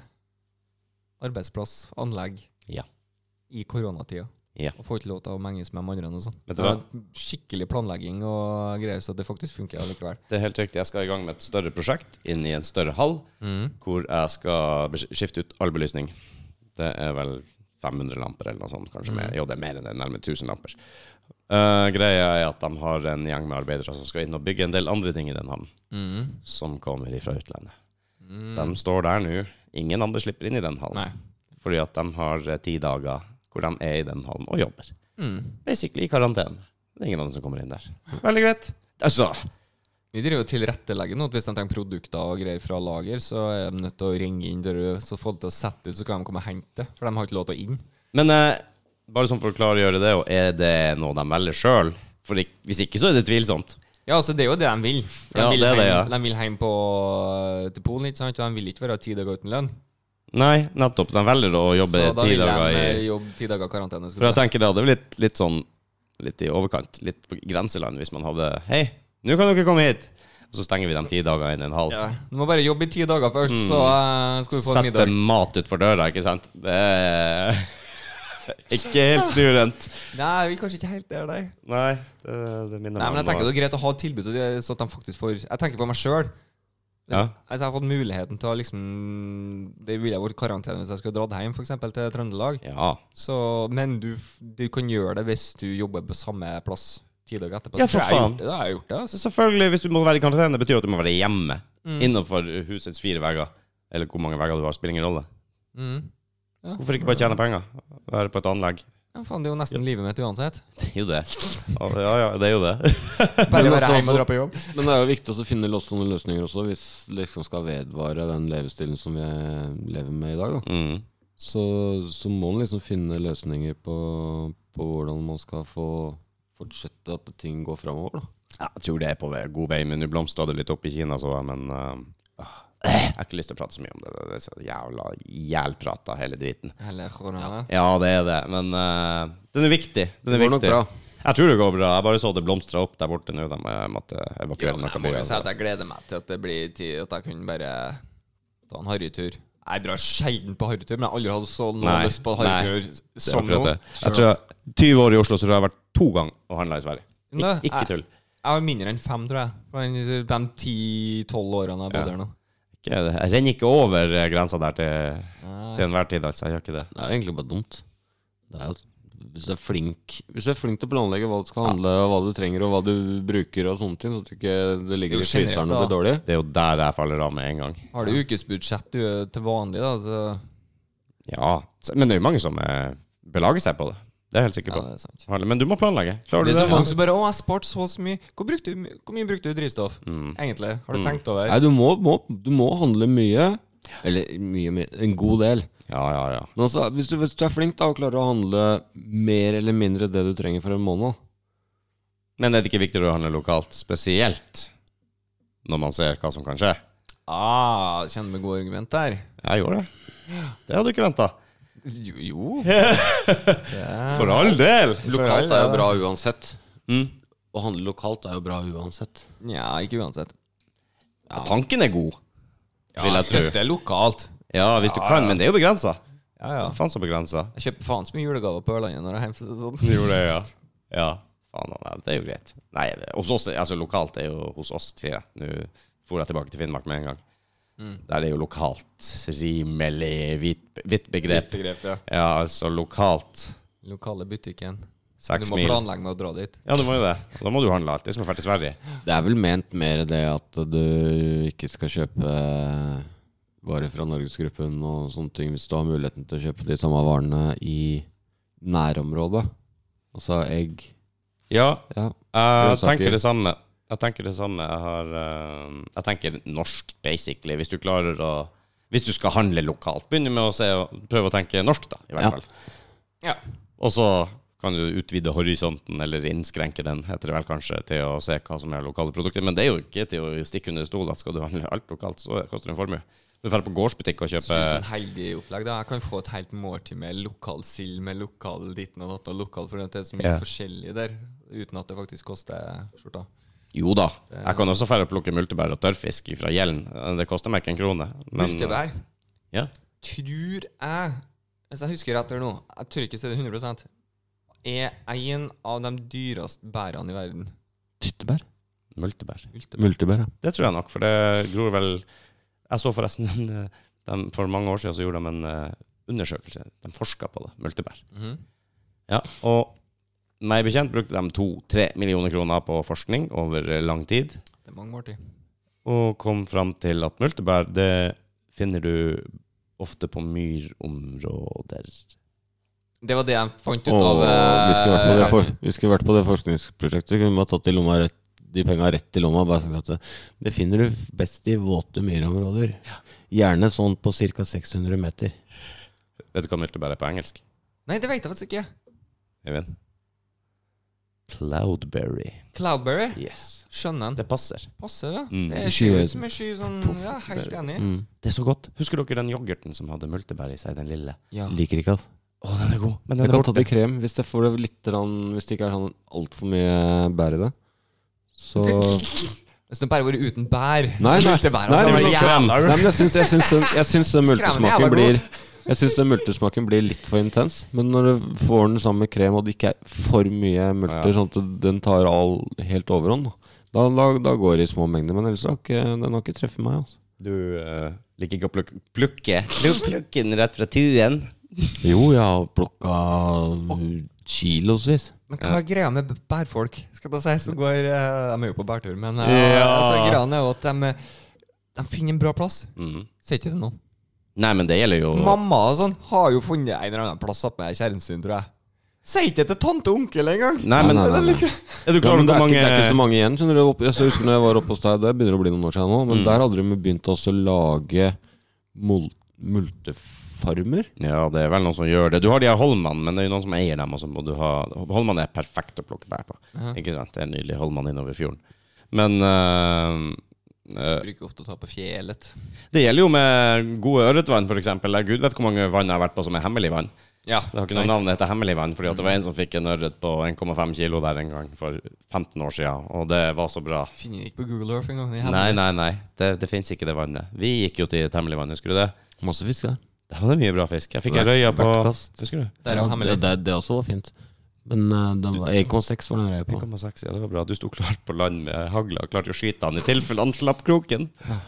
Speaker 2: arbeidsplass, anlegg.
Speaker 1: Ja.
Speaker 2: i koronatida.
Speaker 1: Ja.
Speaker 2: Og får ikke lov til å menges med de andre. og sånn.
Speaker 1: Vet
Speaker 2: Det
Speaker 1: du hva?
Speaker 2: var skikkelig planlegging og greier, så det faktisk funker allikevel.
Speaker 1: Det er helt riktig. Jeg skal i gang med et større prosjekt inn i en større hall, hvor jeg skal besk- skifte ut all belysning. Det er vel 500 lamper eller noe sånt, kanskje. mer. Jo, det er mer enn det, nærmere 1000 lamper. Eh, greia er at de har en gjeng med arbeidere som skal inn og bygge en del andre ting i den hallen,
Speaker 2: Mm.
Speaker 1: som kommer ifra utlandet. De står der nå. Ingen andre slipper inn i den hallen,
Speaker 2: Nei.
Speaker 1: fordi at de har eh, ti dager hvor de er i den hallen og jobber.
Speaker 2: Mm.
Speaker 1: Basically i karantene. Det er ingen andre som kommer inn der. Veldig greit. Altså,
Speaker 2: Vi driver og tilrettelegger nå, at hvis de trenger produkter og greier fra lager, så er de nødt til å ringe inn døra, så få det til å sette ut, så kan de komme og hente det. For de har ikke lov til å inn.
Speaker 1: Men eh, bare sånn for å klargjøre det, og er det noe de velger sjøl? For ik- hvis ikke, så er det tvilsomt.
Speaker 2: Ja, altså det er jo det de vil. For
Speaker 1: Ja,
Speaker 2: de, vil
Speaker 1: det er det, ja.
Speaker 2: hjem, de vil hjem på, til Polen, ikke sant? og de vil ikke være ti dager uten lønn.
Speaker 1: Nei, nettopp. De velger å jobbe
Speaker 2: så da
Speaker 1: ti
Speaker 2: vil
Speaker 1: dager
Speaker 2: de eh,
Speaker 1: i
Speaker 2: jobbe ti dager karantene.
Speaker 1: For
Speaker 2: Skal
Speaker 1: jeg
Speaker 2: du si.
Speaker 1: tenker det hadde blitt litt sånn litt i overkant, litt på grenseland, hvis man hadde Hei, nå kan dere komme hit! Og så stenger vi dem ti dager inn i en halv.
Speaker 2: Ja. Du må bare jobbe i ti dager først, så eh, skal du få en
Speaker 1: Mm. Sette
Speaker 2: middag.
Speaker 1: mat utfor døra, ikke sant? Det er ikke helt snurent.
Speaker 2: Nei, vi er kanskje ikke helt der, nei.
Speaker 1: Nei, det, det minner
Speaker 2: Nei, men jeg
Speaker 1: meg
Speaker 2: tenker
Speaker 1: om
Speaker 2: det er greit å ha et tilbud, og det- så at de faktisk får Jeg tenker på meg sjøl.
Speaker 1: Ja.
Speaker 2: Altså, jeg har fått muligheten til å liksom Det ville vært karantene hvis jeg skulle dratt hjem, f.eks. til Trøndelag.
Speaker 1: Ja.
Speaker 2: Så, men du, f- du kan gjøre det hvis du jobber på samme plass ti dager etterpå.
Speaker 1: Ja,
Speaker 2: Så
Speaker 1: for
Speaker 2: jeg har
Speaker 1: faen.
Speaker 2: gjort det, Da har jeg gjort det. Altså. Mm.
Speaker 1: Så selvfølgelig, hvis du må være i karantene, det betyr at du må være hjemme. Innenfor husets fire vegger. Eller hvor mange vegger du har, spiller ingen rolle.
Speaker 2: Mm. Ja.
Speaker 1: Hvorfor ikke bare tjene penger? Være på et anlegg.
Speaker 2: Ja, faen, det er jo nesten livet mitt uansett.
Speaker 1: Det er jo det. Ja, ja, ja, det er jo det.
Speaker 2: Bare
Speaker 3: Men
Speaker 2: være
Speaker 3: altså,
Speaker 2: hjemme og
Speaker 3: så-
Speaker 2: dra på jobb.
Speaker 3: Men det er jo viktig også å finne loss- sånne løsninger også, hvis det liksom skal vedvare den levestilen som vi lever med i dag. Da.
Speaker 1: Mm.
Speaker 3: Så, så må man liksom finne løsninger på, på hvordan man skal få fortsette at ting går framover. da.
Speaker 1: Ja, jeg tror det er på vei- god vei, men nå blomstra det litt opp i Kina, så jeg, men eh, ah, Jeg har ikke lyst til å prate så mye om det. Det er så jævla jævlprata, hele driten.
Speaker 2: Eller korona.
Speaker 1: Ja, det er det, men eh, den er viktig. Den er
Speaker 3: Det går nok
Speaker 1: viktig.
Speaker 3: bra.
Speaker 1: Jeg tror det går bra. Jeg bare så det blomstra opp der borte nå. De eh, måtte
Speaker 2: Ja,
Speaker 1: evakuere
Speaker 2: men jeg
Speaker 1: noen
Speaker 2: må jo si
Speaker 1: byer.
Speaker 2: at jeg gleder meg til at det blir tid At jeg kan bare ta en harrytur. Jeg drar sjelden på harrytur, men jeg har aldri hatt så noe
Speaker 1: Nei,
Speaker 2: lyst på harrytur
Speaker 1: Det er
Speaker 2: som nå.
Speaker 1: akkurat det. Jeg tror jeg, 20 år i Oslo, så tror jeg jeg har vært to ganger og handla i Sverige. Ik
Speaker 2: Nå,
Speaker 1: ikke
Speaker 2: jeg,
Speaker 1: tull.
Speaker 2: jeg har mindre enn fem, tror jeg. Fra den- De ti-tolv årene jeg
Speaker 1: Ja.
Speaker 2: bodde her nå.
Speaker 1: Ikke, jeg renner ikke over eh, grensa der til,
Speaker 2: Nei.
Speaker 1: til enhver tid, altså. Jeg gjør ikke det.
Speaker 3: Det er jo egentlig bare dumt. Det er jo, hvis, du er flink, hvis du er flink til å planlegge hva du skal handle, og hva du trenger og hva du bruker, og sånne ting, så at du ikke det
Speaker 2: Jo,
Speaker 3: ligger i
Speaker 2: generelt,
Speaker 3: fryseren og
Speaker 2: da.
Speaker 3: blir dårlig
Speaker 1: Det er jo der jeg faller av med en gang.
Speaker 2: Har du ukesbudsjett du er til vanlig, da, så
Speaker 1: Ja. så- Men det er jo mange som eh, belager seg på det. Det er jeg helt sikker
Speaker 2: ja,
Speaker 1: på.
Speaker 2: det er sant.
Speaker 1: Men du må planlegge. Klarer
Speaker 2: Det
Speaker 1: du
Speaker 2: er så mange
Speaker 1: det?
Speaker 2: som bare 'Å, jeg sparte så og så mye'. Hvor, brukte, du- hvor mye brukte du drivstoff,
Speaker 1: Mm.
Speaker 2: egentlig? Har du tenkt over?
Speaker 3: Nei, du må, må, du må handle mye. Eller mye, mye, en god del.
Speaker 1: Ja, ja, ja.
Speaker 3: Men altså, hvis du, hvis du er flink da og klarer å handle mer eller mindre det du trenger for en måned
Speaker 1: Men er det ikke viktigere å handle lokalt? Spesielt når man ser hva som kan skje.
Speaker 2: Ah, kjenner med gode argument der.
Speaker 1: Jeg gjorde det. Det hadde du ikke venta.
Speaker 2: Jo, jo.
Speaker 1: For all del!
Speaker 3: Lokalt er jo bra uansett.
Speaker 1: Mm.
Speaker 3: Å handle lokalt er jo bra uansett.
Speaker 2: Nja, ikke uansett.
Speaker 1: Ja, tanken er god, vil jeg tro.
Speaker 2: Støtte lokalt.
Speaker 1: Ja, hvis du kan, men det er jo begrensa.
Speaker 2: Ja, ja.
Speaker 1: Faen så begrensa.
Speaker 2: Jeg kjøper faen så mye julegaver på Ørlandet når jeg er hjemme. så- Sånn.
Speaker 1: Du gjorde det, ja. Ja. Faen, nei, det er jo greit. Nei, hos oss, altså lokalt er jo hos oss, sier jeg. Nå for jeg tilbake til Finnmark med en gang. Der er jo lokalt rimelig vidt, vidt begrep.
Speaker 2: Begrep, ja.
Speaker 1: Ja, altså lokalt
Speaker 2: Lokale butikken. Du
Speaker 1: seks
Speaker 2: må
Speaker 1: mil.
Speaker 2: planlegge med å dra dit.
Speaker 1: Ja, du må jo det. Da må du handle alt. Det er som å dra til Sverige.
Speaker 3: Det er vel ment mer det at du ikke skal kjøpe eh, varer fra Norgesgruppen og sånne ting, hvis du har muligheten til å kjøpe de samme varene i nærområdet. Altså egg
Speaker 1: Ja,
Speaker 3: Ja.
Speaker 1: jeg
Speaker 3: Grønnsaker.
Speaker 1: tenker det samme. Jeg tenker det samme. Jeg har eh, Jeg tenker norsk, basically. Hvis du klarer å Hvis du skal handle lokalt, begynn med å se og prøve å tenke norsk, da, i hvert
Speaker 3: Ja.
Speaker 1: fall.
Speaker 2: Ja.
Speaker 1: Og så kan du utvide horisonten, eller innskrenke den, heter det vel kanskje, til å se hva som er lokale produkter. Men det er jo ikke til å stikke under stol at skal du handle alt lokalt, så koster det en formue. Du drar på gårdsbutikk og
Speaker 2: Så du er
Speaker 1: kjøper
Speaker 2: sånn heldig opplegg da Jeg kan få et helt måltid med lokal sild, med lokal ditten og datten, og lokal for det er så mye
Speaker 1: Ja.
Speaker 2: forskjellig der, uten at det faktisk koster skjorta.
Speaker 1: Jo da. Jeg kan også dra og plukke multebær og tørrfisk fra Gjellen. Det koster meg ikke en krone. men-
Speaker 2: Multebær
Speaker 1: Ja.
Speaker 2: tror jeg Hvis jeg husker rett her nå, jeg tør ikke si det 100 er en av de dyreste bærene i verden.
Speaker 3: Tyttebær?
Speaker 1: Multebær.
Speaker 3: Multebær, ja.
Speaker 1: Det tror jeg nok, for det gror vel Jeg så forresten en, eh, dem- For mange år siden så gjorde de en eh, undersøkelse. De forska på det, multebær. Ja, og meg bekjent brukte de to-tre millioner kroner på forskning over eh, lang tid,
Speaker 2: Det er mange måltid.
Speaker 1: og kom fram til at multebær, det finner du ofte på myrområder.
Speaker 2: Det var det jeg fant ut
Speaker 3: Åh,
Speaker 2: av
Speaker 3: vi, skulle vært på det
Speaker 2: eh,
Speaker 3: for, vi skulle vært på det forskningsprosjektet. Kunne vi bare tatt de, lomma rett, de penga rett i lomma. Bare sagt at det, det finner du best i våte myrområder. Gjerne sånn på ca. 600 meter.
Speaker 1: Vet du hva multebær er på engelsk?
Speaker 2: Nei, det vet jeg faktisk ikke.
Speaker 1: Eivind? Cloudberry.
Speaker 2: Cloudberry.
Speaker 1: Yes.
Speaker 2: Skjønner den.
Speaker 1: Det passer.
Speaker 2: Passer, ja.
Speaker 1: Mm.
Speaker 2: Det er sky
Speaker 3: Sky-
Speaker 2: ut som en sky sånn Ja, helt enig.
Speaker 3: Mm.
Speaker 1: Det er så godt. Husker dere den yoghurten som hadde multebær i seg, den lille?
Speaker 2: Ja.
Speaker 3: Liker ikke, altså.
Speaker 1: Å, den er god. Men
Speaker 3: Jeg
Speaker 1: den er
Speaker 3: kan ta
Speaker 1: borte.
Speaker 3: det i krem hvis, jeg får det litt, grann- hvis det ikke er sånn altfor mye bær i det. Så
Speaker 2: Hvis den bare var uten bær
Speaker 3: Nei, nei.
Speaker 2: Lite bær,
Speaker 3: Nei,
Speaker 2: altså,
Speaker 3: det
Speaker 2: men
Speaker 1: blir
Speaker 2: jævla-
Speaker 1: sånn
Speaker 3: Nei, men jeg syns, jeg syns den, jeg syns den multesmaken
Speaker 2: Skremmende jævla
Speaker 3: blir Jeg syns den multesmaken blir litt for intens. Men når du får den sammen med krem, og det ikke er for mye
Speaker 1: Ja.
Speaker 3: multer, sånn at den tar all helt overhånd, da, da, da går det i små mengder. Men ellers har ikke, den har ikke treffet meg. Altså.
Speaker 1: Du eh, liker ikke å plukke plukke. Du plukker den rett fra tuen.
Speaker 3: Jo, jeg har plukka kilosvis.
Speaker 2: Men hva er greia med b- bærfolk? Skal jeg si, som går eh, De er jo på bærtur, men eh, altså,
Speaker 1: Ja.
Speaker 2: greia er jo at de, eh, de finner en bra plass.
Speaker 1: Mhm.
Speaker 2: Sier ikke det noen.
Speaker 1: Nei, men det gjelder jo
Speaker 2: Mamma og sånn har jo funnet en eller annen plass oppe med kjæresten sin, tror jeg. Sier ikke det til tante og onkel engang!
Speaker 1: Nei, men
Speaker 3: Nei, nei, nei, nei.
Speaker 1: er du
Speaker 3: Ja,
Speaker 1: klar over
Speaker 3: men det,
Speaker 1: hvor
Speaker 3: er
Speaker 1: mange
Speaker 3: ikke, det er ikke så mange igjen. skjønner du Opp- Jeg så husker når jeg var oppe hos deg, det begynner å bli noen år siden nå, men der hadde de begynt også å lage mul multefarmer.
Speaker 1: Ja, det er vel noen som gjør det. Du har de her Holman, men det er jo noen som eier dem. Og så må du ha Holman er perfekt å plukke bær på.
Speaker 2: Ja.
Speaker 1: Ikke sant? Det er nydelig. Holman innover fjorden. Men eh, eh,
Speaker 2: Bruker ofte å ta på fjellet.
Speaker 1: det gjelder jo med gode ørretvann, f.eks. Gud vet hvor mange vann jeg har vært på som er hemmelig vann.
Speaker 2: Ja,
Speaker 1: Det har ikke noe navn, det heter hemmelig vann, fordi at det var en som fikk en ørret på 1,5 kilo der en gang for 15 år siden, og det var så bra.
Speaker 2: Finner ikke på Google Earth engang. det er
Speaker 1: Nei,
Speaker 2: hemmelig.
Speaker 1: nei, nei, det, det finnes ikke det vannet. Vi gikk jo til et hemmelig vann, husker du det?
Speaker 3: Masse fisk der.
Speaker 1: Der var det mye bra fisk. Jeg fikk en
Speaker 3: Hvert-
Speaker 1: røya på
Speaker 3: hvert kast.
Speaker 1: Husker du?
Speaker 2: Der er jo
Speaker 3: Ja,
Speaker 2: hemmelig.
Speaker 3: det, det, det også var fint. Men eh, den var 1,6 var den røya på.
Speaker 1: 1,6, ja det var bra. Du sto klart på land med hagla og klarte å skyte han i tilfelle han slapp kroken.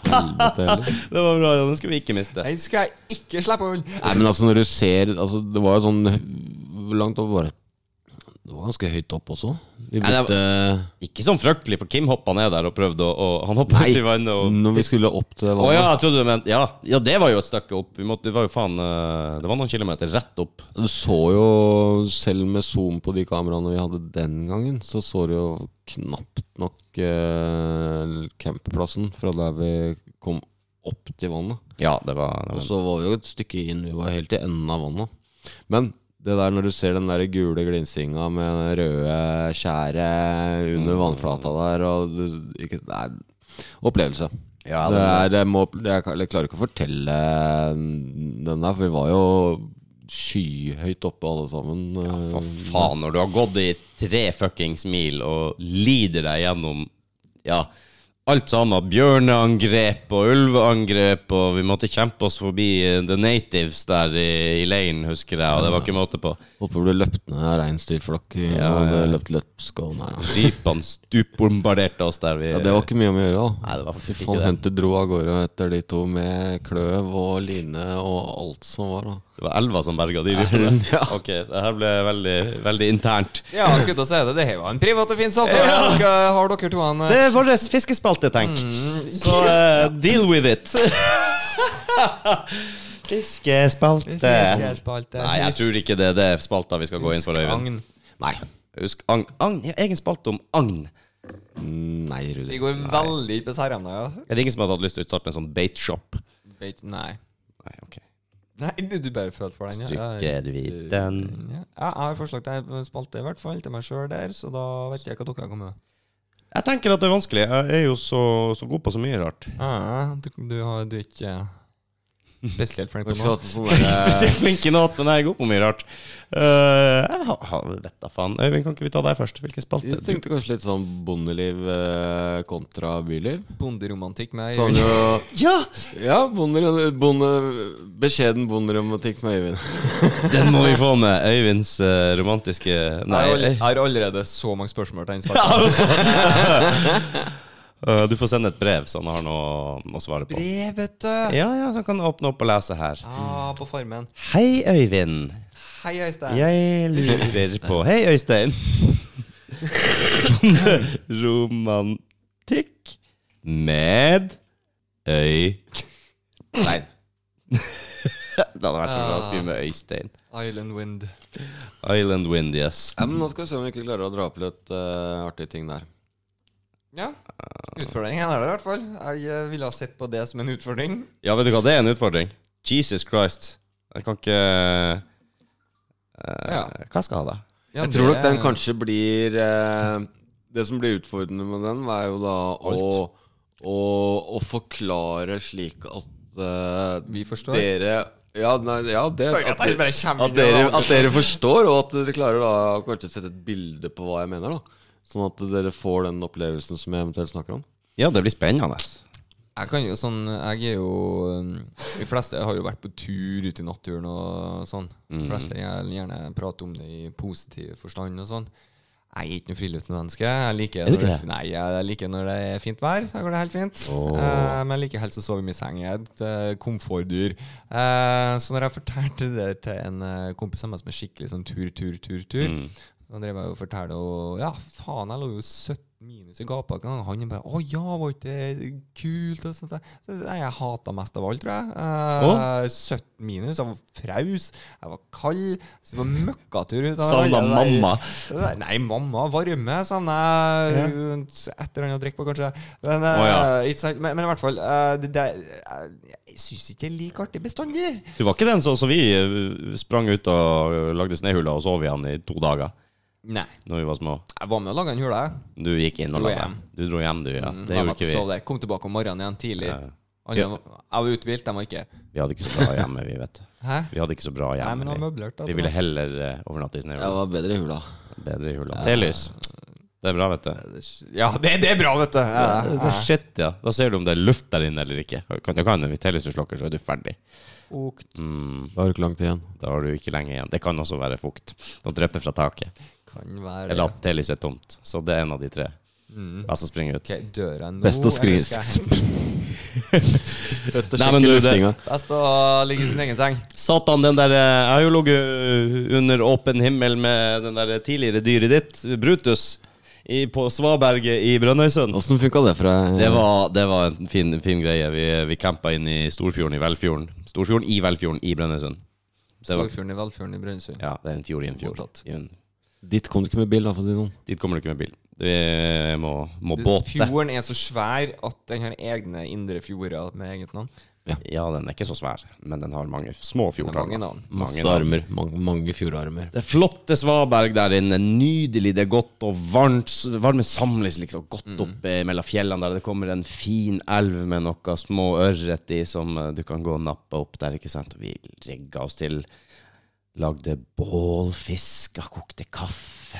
Speaker 3: Helvete heller.
Speaker 1: Det var bra, ja, den skal vi ikke miste.
Speaker 2: Den skal jeg ikke slippe unna!
Speaker 3: Nei, men altså, når du ser altså, Det var jo sånn hvor langt opp var det? Det var ganske høyt opp også. Vi
Speaker 1: Nei, det
Speaker 3: brukte
Speaker 1: Ikke sånn fryktelig, for Kim hoppa ned der og prøvde å og Han hoppa
Speaker 3: Nei,
Speaker 1: uti vannet og
Speaker 3: Når vi skulle opp
Speaker 1: Å
Speaker 3: til
Speaker 1: ja,
Speaker 3: vannet,
Speaker 1: jeg trodde du mente ja. ja, det var jo et stykke opp. Vi måtte, det var jo faen eh, Det var noen kilometer rett opp.
Speaker 3: du så jo Selv med zoom på de kameraene vi hadde den gangen, så så du jo knapt nok eh, campplassen fra der vi kom opp til vannet.
Speaker 1: Ja, det var, det
Speaker 3: Og
Speaker 1: var
Speaker 3: så var vi jo et stykke inn, vi var helt i enden av vannet. Men det der når du ser den der gule glinsinga med det røde skjæret under
Speaker 1: Mm.
Speaker 3: vannflata der og du, ikke, Nei, opplevelse.
Speaker 1: Ja,
Speaker 3: det
Speaker 1: den-
Speaker 3: er, jeg, må, jeg, kan- jeg klarer ikke å fortelle den der, for vi var jo skyhøyt oppe alle sammen. eh,
Speaker 1: For faen, når du har gått i tre fuckings mil og lider deg gjennom ja, alt sammen. Bjørneangrep og ulveangrep, og vi måtte kjempe oss forbi eh, the natives der i, i leiren, husker jeg, og det var ikke måte på.
Speaker 3: Holdt på å bli løpt ned av reinsdyrflokk.
Speaker 1: Ja,
Speaker 3: og det
Speaker 1: ja.
Speaker 3: løpt løpsk og nei.
Speaker 1: Jeepene stupbombarderte oss der vi
Speaker 3: Ja, det var ikke mye om å gjøre, da.
Speaker 1: Nei, det var
Speaker 3: Fy
Speaker 1: faktisk
Speaker 3: faen,
Speaker 1: ikke det.
Speaker 3: Hunter dro av gårde etter de to med kløv og line og alt som var, da.
Speaker 1: Det var elva som berga de rypene. Ok, det her ble veldig, veldig internt.
Speaker 2: Ja, jeg skulle til å si det. Det her var en privat og fin samtale. Dere- Har dere to eh, en
Speaker 1: Det er vår fiskespalte, tenk. Så eh, deal with it. Fiskespalte. Nei, jeg tror ikke det. Det er spalta vi skal gå inn for, Øyvind. Nei. Husk agn. agn. ja, Egen spalte om agn.
Speaker 3: Mm, Nei, Rudi.
Speaker 2: Vi går veldig på særemna, ja.
Speaker 1: Er det ingen som hadde hatt lyst til å starte en sånn baitshop?
Speaker 2: Vet- Nei.
Speaker 1: Nei, ok.
Speaker 2: Nei, du du bare følte for den, ja. ja.
Speaker 1: Trykker vi den
Speaker 2: Ja, jeg har forslag til en spalte, i hvert fall, til meg sjøl der, så da vet jeg hva dere kommer med.
Speaker 1: Jeg tenker at det er vanskelig. Jeg er jo så, så god på så mye rart.
Speaker 2: Ja, ja, du, du, har, du er ikke eh, Spesielt flink på
Speaker 3: Kanskje
Speaker 2: noe.
Speaker 3: hatt en sånn
Speaker 1: Jeg er ikke
Speaker 3: der,
Speaker 1: Eh, spesielt flink i natt, men jeg er god på mye rart. Eh, jeg har- har- vet da faen. Øyvind, kan ikke vi ta deg først? Hvilken spalte?
Speaker 3: Jeg eh, tenkte kanskje litt sånn bondeliv eh, kontra byliv.
Speaker 2: Bonderomantikk med
Speaker 3: Kan
Speaker 2: Øyvind.
Speaker 3: jo,
Speaker 1: Ja!
Speaker 3: ja, bonde, bonde, beskjeden bonderomantikk med Øyvind.
Speaker 1: Den må vi få med. Øyvinds eh, romantiske
Speaker 2: Jeg har all-
Speaker 1: Nei.
Speaker 2: jeg har allerede så mange spørsmål til den spalten.
Speaker 1: eh, du får sende et brev, så han har noe å svare på.
Speaker 2: Brev, vet du!
Speaker 1: Ja, ja, så han kan åpne opp og lese her.
Speaker 2: Ah, på Farmen.
Speaker 1: Hei, Øyvind.
Speaker 2: Hei, Øystein.
Speaker 1: Jeg lurer på Hei, Øystein. Romantikk med Øy...
Speaker 3: Nei.
Speaker 1: Det hadde vært så bra å skrive med Øystein.
Speaker 2: Island Wind.
Speaker 1: Island Wind, yes.
Speaker 3: Ja, men nå skal vi se om vi ikke klarer å dra opp litt eh, artige ting der.
Speaker 2: Ja. Utfordringen er det i hvert fall. Jeg eh, ville ha sett på det som en utfordring.
Speaker 3: Eh,
Speaker 1: Ja, vet du hva, det er en utfordring. Jesus Christ. Jeg kan ikke eh,
Speaker 2: Ja.
Speaker 1: Hva skal jeg ha, da?
Speaker 2: Ja,
Speaker 3: Jeg tror nok
Speaker 2: det-
Speaker 3: den kanskje blir eh, Det som blir utfordrende med den, er jo da å, å, å forklare slik at eh,
Speaker 2: Vi forstår.
Speaker 3: dere ja, nei, ja, det,
Speaker 2: Sorry,
Speaker 3: at,
Speaker 2: at jeg
Speaker 3: dere,
Speaker 2: bare kommer
Speaker 3: at,
Speaker 2: inn i
Speaker 3: dere,
Speaker 2: det andre.
Speaker 3: at dere forstår, og at dere klarer da å kanskje sette et bilde på hva jeg mener. da Sånn at dere får den opplevelsen som jeg eventuelt snakker om.
Speaker 1: Ja, det blir spennende.
Speaker 2: Jeg kan jo sånn Jeg er jo um, De fleste har jo vært på tur ute i naturen og sånn.
Speaker 1: Mhm.
Speaker 2: De fleste jeg gjerne prater om det i positiv forstand og sånn. Jeg er ikke noe friluftsmenneske. Jeg liker
Speaker 1: Er du
Speaker 2: når
Speaker 1: ikke
Speaker 2: det, nei, jeg liker når det er fint vær. Så går det helt fint. Eh, men jeg liker helst å sove i min seng. Jeg er et eh, komfortdyr. Eh, så når jeg fortalte det til en eh, kompis av meg som er skikkelig sånn tur, tur, tur, tur
Speaker 1: Mhm.
Speaker 2: Så drev jeg og fortalte og Ja, faen, jeg lå jo 17 minus i gapa en gang. Han bare Å ja, var ikke det kult? Og sånt. der. Så det er det jeg hata mest av alt, tror jeg. Eh, 17 minus. Jeg var fraus. Jeg var kald. Så det var møkkatur ut av
Speaker 1: Savna
Speaker 2: alle der-
Speaker 1: mamma.
Speaker 2: Nei, mamma varme savner jeg ja. etter han har drukket på, kanskje. Men, eh,
Speaker 1: Å, ja.
Speaker 2: ikke sant? men, men i hvert fall eh, det, det, Jeg, jeg syns ikke det er like artig bestandig.
Speaker 1: Du var ikke den sånn som vi eh, sprang ut og lagde snøhula og sov igjen i to dager
Speaker 2: Nei.
Speaker 1: Når vi var små?
Speaker 2: Jeg var med og laga en hule. jeg.
Speaker 1: Du gikk inn og la
Speaker 2: Dro
Speaker 1: deg.
Speaker 2: hjem.
Speaker 1: Du dro hjem, du, ja.
Speaker 2: Mm,
Speaker 1: Det
Speaker 2: la
Speaker 1: gjorde
Speaker 2: meg
Speaker 1: ikke
Speaker 2: til å
Speaker 1: vi.
Speaker 2: sove der. Kom tilbake om morgenen igjen tidlig.
Speaker 1: Ja.
Speaker 2: Alle var- Jeg var uthvilt, de var ikke
Speaker 1: Vi hadde ikke så bra hjemme, vi, vet du.
Speaker 2: Hæ?
Speaker 1: Vi hadde ikke så bra
Speaker 2: Nei, men
Speaker 1: hjemme.
Speaker 2: han
Speaker 1: vi.
Speaker 2: møblerte.
Speaker 1: Vi ville heller eh, overnatte i snøhula.
Speaker 3: Jeg var bedre i hula.
Speaker 1: Bedre i hula. Telys. Det er bra, vet du.
Speaker 2: Ja, det, det er bra, vet du. Ja, Ah.
Speaker 1: Det
Speaker 2: ja.
Speaker 1: er shit, ja. Da ser du om det er luft der inne eller ikke. Kan, det kan, hvis tellyset slukker, så er du ferdig.
Speaker 2: Fukt.
Speaker 1: Mm,
Speaker 3: Da har du ikke langt igjen.
Speaker 1: da har du ikke lenge igjen. Det kan også være fukt. Det drypper fra taket.
Speaker 2: Kan være Mm.
Speaker 1: Eller at tellyset er tomt. Så det er en av de tre. Best å springe ut.
Speaker 2: Ok, døra nå
Speaker 3: Best å skri-
Speaker 2: eller skal jeg-
Speaker 3: Best å
Speaker 1: Nei, men du,
Speaker 3: sjekke
Speaker 1: det-
Speaker 3: luftinga.
Speaker 2: Best å ligge i sin egen seng.
Speaker 1: Satan, den der eh, Jeg har jo ligget eh, under åpen himmel med den der tidligere dyret ditt, Brutus, i, på Svaberget i Brønnøysund.
Speaker 3: Åssen funka det eh, for deg?
Speaker 1: Det var, det var en fin, fin greie. Vi, vi campa inn i Storfjorden i Velfjorden. Storfjorden i Velfjorden i Brønnøysund. Det var-
Speaker 2: Storfjorden i Velfjorden i Brønnøysund.
Speaker 1: Ja, det er en fjord i en fjord.
Speaker 2: Mottatt.
Speaker 1: I en,
Speaker 3: Dit kom du ikke med bil, da, for å si det sånn.
Speaker 1: dit kommer du ikke med bil. Vi må, må
Speaker 2: Det-
Speaker 1: båte.
Speaker 2: Fjorden er så svær at den har egne indre fjorder med eget navn.
Speaker 1: Ja, den er ikke så svær, men den har mange små
Speaker 2: Det er mange
Speaker 1: fjordarmer.
Speaker 2: navn.
Speaker 1: Mange
Speaker 3: Masse
Speaker 1: navn.
Speaker 3: armer. Mange, mange fjordarmer.
Speaker 1: Det flotte svaberg der inne. Nydelig, det er godt og varmt. S- Varmen samles liksom godt
Speaker 3: Mm.
Speaker 1: opp eh, mellom fjellene der. Det kommer en fin elv med noe små ørret i som eh, du kan gå og nappe opp der, ikke sant. Og vi rigga oss til. Lagde bål, fiska, kokte kaffe.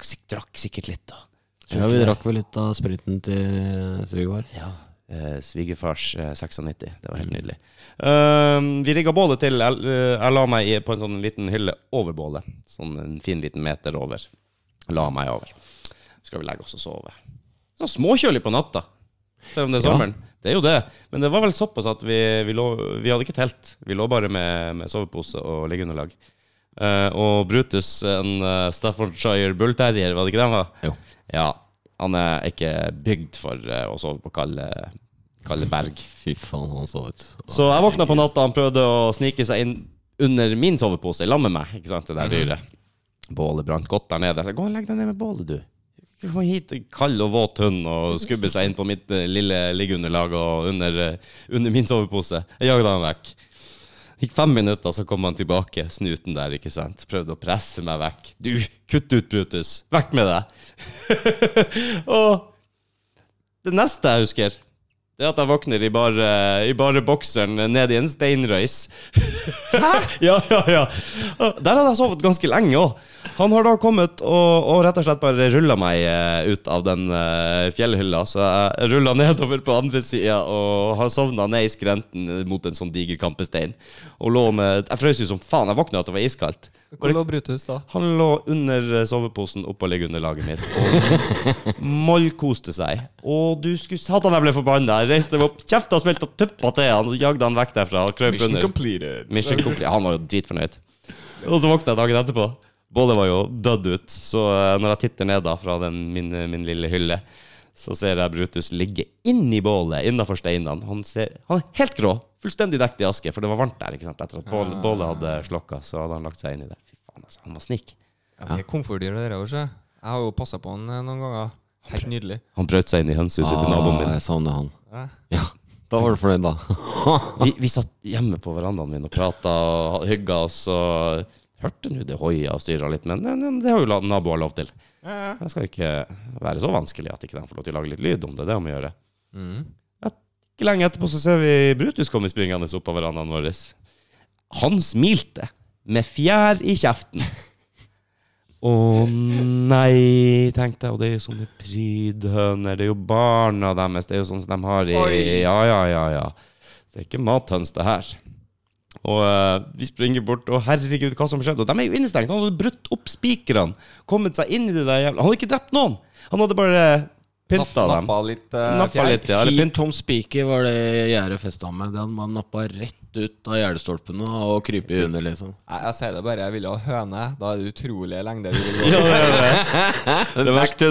Speaker 1: Sik- Drakk sikkert litt, da.
Speaker 3: Ja, vi drakk vel litt av spriten til svigerfar.
Speaker 1: Ja. Eh, svigerfars eh, 96. Det var helt nydelig. Ehm, vi rigga bålet til. Jeg, eh, jeg la meg i, på en sånn liten hylle over bålet. Sånn en fin liten meter over. La meg over. Skal vi legge oss og sove. Sånn småkjølig på natta. Selv om det er
Speaker 3: Ja.
Speaker 1: sommeren. Det er jo det. Men det var vel såpass at vi, vi, lå, vi hadde ikke telt. Vi lå bare med, med sovepose og liggeunderlag. Eh, og Brutus, en eh, Staffordshire Bull Terrier, var det ikke den var?
Speaker 3: Jo.
Speaker 1: Ja. Han er ikke bygd for eh, å sove på kalde, kalde berg.
Speaker 3: Fy faen, han så ut.
Speaker 1: Så jeg våkna på natta, han prøvde å snike seg inn under min sovepose, i lag med meg, ikke sant, det der dyret. Bålet brant godt der nede. Jeg sa, gå og legg deg ned med bålet, du. Ikke Kom hit, kald og våt hund, og skubbe seg inn på mitt eh, lille liggeunderlag og under, eh, under min sovepose. Jeg jaget han vekk. Gikk fem minutter, så kom han tilbake, snuten der, ikke sant. Prøvde å presse meg vekk. Du, kutt ut, Brutus. Vekk med deg. og det neste jeg husker, Det er at jeg våkner i bare, i bare bokseren ned i en steinrøys. Hæ?! ja, ja, ja. Der hadde jeg sovet ganske lenge òg. Han har da kommet og, og rett og slett bare rulla meg eh, ut av den eh, fjellhylla. Så jeg rulla nedover på andre sida og har sovna ned i skrenten mot en sånn diger kampestein. Og lå med Jeg frøs jo som faen. Jeg våkna at det var iskaldt.
Speaker 2: Hvor lå Brutus da?
Speaker 1: Han lå under eh, soveposen oppå liggeunderlaget mitt og mollkoste seg. Og du skulle Satan, jeg ble forbanna! Jeg reiste meg opp, kjefta og smelta tuppa til han, og jagde han vekk derfra. og krøp under.
Speaker 3: completed.
Speaker 1: Mission complete. Han var jo dritfornøyd. Og så våkna jeg dagen etterpå. Både var jo dødd ut. Så eh, når jeg titter ned da fra den, min, min lille hylle, så ser jeg Brutus ligge inni bålet innafor steinene. Han, ser, han er helt grå. Fullstendig dekt i aske, for det var varmt der ikke sant? etter at bålet, bålet hadde slokka. Så hadde han lagt seg inn i det. Fy faen, altså. Han var snik.
Speaker 2: Ja, det er komfortdyr, det der òg, sjø. Jeg har jo passa på han eh, noen ganger. Helt nydelig.
Speaker 1: Han brøt seg inn i hønsehuset til naboen
Speaker 3: Ah,
Speaker 1: min.
Speaker 3: jeg savner han.
Speaker 2: Ja.
Speaker 3: Ja, da var du fornøyd, da.
Speaker 1: Vi, vi satt hjemme på verandaen min og prata og hygga oss. og Hørte nå det hoia og styra litt, men men det har jo la- naboer lov til. Det skal ikke være så vanskelig at ikke de får lov til å lage litt lyd om det. Det må vi gjøre.
Speaker 2: Mm.
Speaker 1: Ikke lenge etterpå så ser vi Brutus komme springende opp av verandaen vår. Han smilte med fjær i kjeften. Å nei, tenkte jeg. Og det er jo sånne prydhøner. Det er jo barna deres. Det er jo sånn som de har i
Speaker 2: Oi.
Speaker 1: Ja, ja, ja, ja. Det er ikke mathøns, det her. Og eh, vi springer bort, og herregud, hva som skjedde? Og de er jo innestengt. Han hadde brutt opp spikrene. Kommet seg inn i det der jævla Han hadde ikke drept noen! Han hadde bare pynta
Speaker 2: Napp-
Speaker 1: dem.
Speaker 2: Nappa litt eh,
Speaker 1: Nappa
Speaker 2: fjær.
Speaker 1: litt, ja. Eller pynt
Speaker 3: Tom Spiker var det gjerdet festa med. Den man nappa rett ut av gjerdestolpene og krype under, liksom.
Speaker 2: Jeg, jeg sier det bare, jeg ville ha høne. Da er det utrolige lengder vi vil gå.
Speaker 1: Ja, det er det. det verste,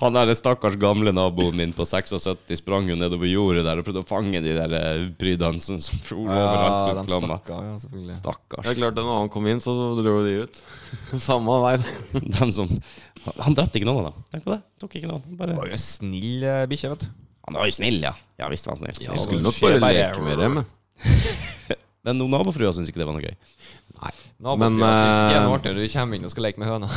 Speaker 1: han der stakkars gamle naboen min på 76 sprang jo nedover jordet der og prøvde å fange de der eh, prydhansene som for overalt
Speaker 2: de
Speaker 1: rundt klamma.
Speaker 2: stakk av, ja, selvfølgelig.
Speaker 1: Stakkars.
Speaker 3: Det er klart, da han kom inn, så dro de ut. Samme vei.
Speaker 1: Dem som, han drepte ikke noen av dem. Tenk på det. Tok ikke noen. Bare,
Speaker 2: Var jo snill eh, bikkje, vet du.
Speaker 1: han var jo snill, ja. Ja visst var han snill.
Speaker 3: Jeg
Speaker 1: snill.
Speaker 3: skulle
Speaker 2: det
Speaker 3: nok
Speaker 2: skjer
Speaker 3: bare
Speaker 2: bare-
Speaker 3: leke med dem.
Speaker 1: Men noen nabofrua syntes ikke det var noe gøy.
Speaker 2: Nabofyra
Speaker 3: Men,
Speaker 2: synes ikke det er
Speaker 3: eh,
Speaker 2: noe artig når du kommer inn og skal leke med høna.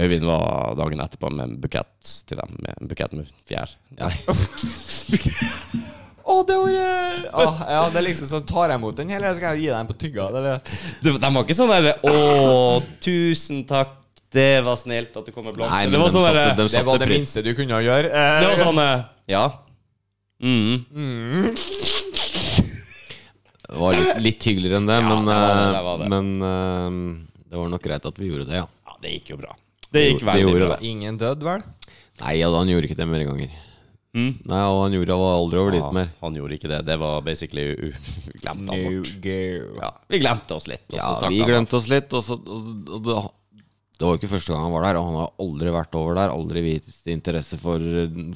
Speaker 1: Øyvind var dagen etterpå med en bukett til dem. Med en bukett med fjær. Nei.
Speaker 2: Å, det var eh, ah, Ja, det er liksom sånn Tar jeg imot den, eller skal jeg gi deg den på tygga? Det er det.
Speaker 1: De, de var ikke sånn der Å, tusen takk, det var snilt at du kom med
Speaker 3: Nei,
Speaker 1: blomster.
Speaker 3: men
Speaker 1: Det var
Speaker 3: de
Speaker 1: sånn
Speaker 3: satte,
Speaker 1: derre
Speaker 3: de
Speaker 2: det var
Speaker 3: satte
Speaker 2: det
Speaker 3: pris
Speaker 2: minste du kunne gjøre. eh,
Speaker 1: Det var sånn eh, Ja. Mm.
Speaker 3: Det var litt, litt hyggeligere enn det,
Speaker 1: Ja,
Speaker 3: men,
Speaker 1: det var det, det var
Speaker 3: eh,
Speaker 1: det.
Speaker 3: men eh, det var nok greit at vi gjorde det, ja.
Speaker 1: Ja, det gikk jo bra. Det gikk
Speaker 3: Det
Speaker 1: veldig
Speaker 3: gjorde
Speaker 1: bra.
Speaker 3: det.
Speaker 2: Ingen død, vel?
Speaker 3: Nei, ja, han gjorde ikke det mer ganger.
Speaker 1: Mm.
Speaker 3: Nei, og han gjorde var aldri over dit
Speaker 1: Ja,
Speaker 3: mer.
Speaker 1: han gjorde ikke det. Det var basically u- Vi glemte han bort.
Speaker 2: go.
Speaker 1: Ja, vi glemte oss litt. og
Speaker 3: Ja,
Speaker 1: så stakk
Speaker 3: vi
Speaker 1: han av.
Speaker 3: glemte oss litt, og så og, og, da- Det var jo ikke første gang han var der, og han har aldri vært over der. Aldri vist interesse for,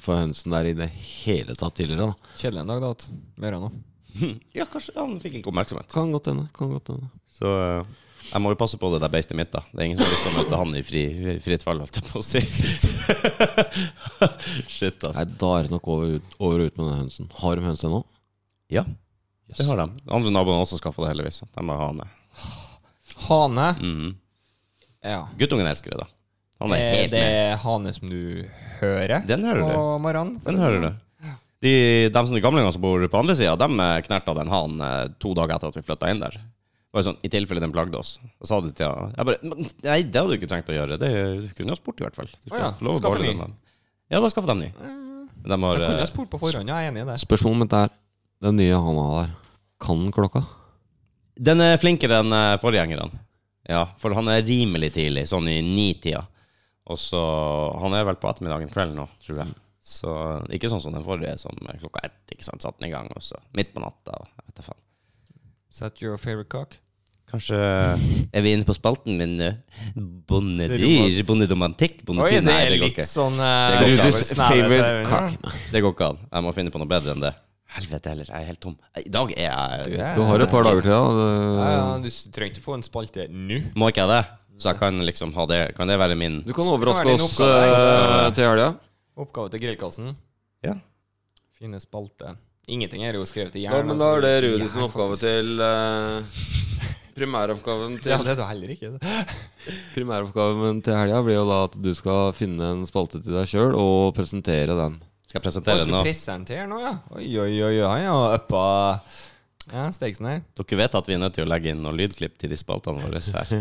Speaker 3: for hønsen der i det hele tatt tidligere. Da.
Speaker 2: Kjedelig en dag, da. at Mer enn noe.
Speaker 1: Hm, Ja, kanskje han fikk ikke oppmerksomhet.
Speaker 3: Kan godt hende. Kan godt hende.
Speaker 1: Så eh, jeg må jo passe på det der beistet mitt, da. Det er ingen som har lyst til å møte han i fri, fritt fall, holdt jeg på å si. Shit,
Speaker 3: Nei,
Speaker 1: altså.
Speaker 3: da er det nok over, ut- over og ut med den hønsen. Har de høns ennå?
Speaker 1: Ja, det har de. Andre naboene har også skaffa det, heldigvis. De har hane.
Speaker 2: Hane.
Speaker 1: Mhm.
Speaker 2: Ja.
Speaker 1: Guttungen elsker det, da. Han er
Speaker 2: Er
Speaker 1: helt
Speaker 2: det
Speaker 1: med.
Speaker 2: hane som du hører
Speaker 1: Den hører du.
Speaker 2: på morgenen?
Speaker 1: Den hører du. De, dem som de gamlingene som bor på andre sida, dem eh, knerta den hanen eh, to dager etter at vi flytta inn der. Det var jo sånn, I tilfelle den plagde oss. Og sa det til han. Jeg bare "Men, Nei, det hadde du ikke trengt å gjøre. Det kunne du ha spurt, i hvert fall. Du skulle
Speaker 2: Å ja,
Speaker 1: hatt lov å
Speaker 2: skaffe
Speaker 1: beholde
Speaker 2: ny.
Speaker 1: den, men- Ja, da skaffer de ny. Men De har
Speaker 2: Jeg kunne
Speaker 1: eh,
Speaker 2: ha spurt på forhånd, ja, jeg er enig i det.
Speaker 3: Spørsmålet mitt er Den nye han har der, kan den klokka?
Speaker 1: Den er flinkere enn eh, forgjengerne. Ja, for han er rimelig tidlig, sånn i ni-tida. Og så Han er vel på ettermiddagen kvelden nå, tror jeg. Så ikke sånn som den forrige, som eh, klokka ett ikke sant, satte den i gang, og så midt på natta. og Jeg vet da faen.
Speaker 2: Set your favorite cock.
Speaker 1: Kanskje er vi inne på spalten min nå? Bondedyr, bonderomantikk,
Speaker 2: Oi,
Speaker 1: bondedyr
Speaker 2: det
Speaker 1: Nei,
Speaker 2: er
Speaker 1: det går
Speaker 2: litt
Speaker 1: ikke.
Speaker 2: sånn
Speaker 1: Det går ikke.
Speaker 3: Brutus favorite cock.
Speaker 1: Det går ikke an. Jeg må finne på noe bedre enn det. Helvete heller, jeg er helt tom. I dag er jeg
Speaker 3: Du har et par dager til,
Speaker 2: Ja, ja,
Speaker 3: da.
Speaker 2: du s- trenger ikke få en spalte nå.
Speaker 1: Må ikke jeg det? Så jeg kan liksom ha det Kan det være min
Speaker 3: Du kan
Speaker 2: Skal
Speaker 3: overraske
Speaker 2: være din
Speaker 3: oss
Speaker 2: oppgave,
Speaker 3: eh,
Speaker 1: egentlig.
Speaker 3: til helga.
Speaker 2: Oppgave til grillkassen.
Speaker 1: Ja.
Speaker 2: Finne spalte. Ingenting er jo skrevet i
Speaker 3: Ja,
Speaker 2: jern.
Speaker 3: men da
Speaker 2: altså.
Speaker 3: er det
Speaker 2: Jern,
Speaker 3: Rudi sin oppgave
Speaker 2: faktisk.
Speaker 3: til eh, Primæroppgaven
Speaker 2: Ja,
Speaker 3: til
Speaker 2: det er det heller ikke. det.
Speaker 3: Primæroppgaven til helga blir jo da at du skal finne en spalte til deg sjøl og presentere den.
Speaker 1: Skal jeg presentere den
Speaker 2: Skulle
Speaker 1: nå?
Speaker 2: presse den til her nå, ja? Oi, oi, oi, oi, han har uppa ja, stegsen her.
Speaker 1: Dere vet at vi er nødt til å legge inn noen lydklipp til de spaltene våre her.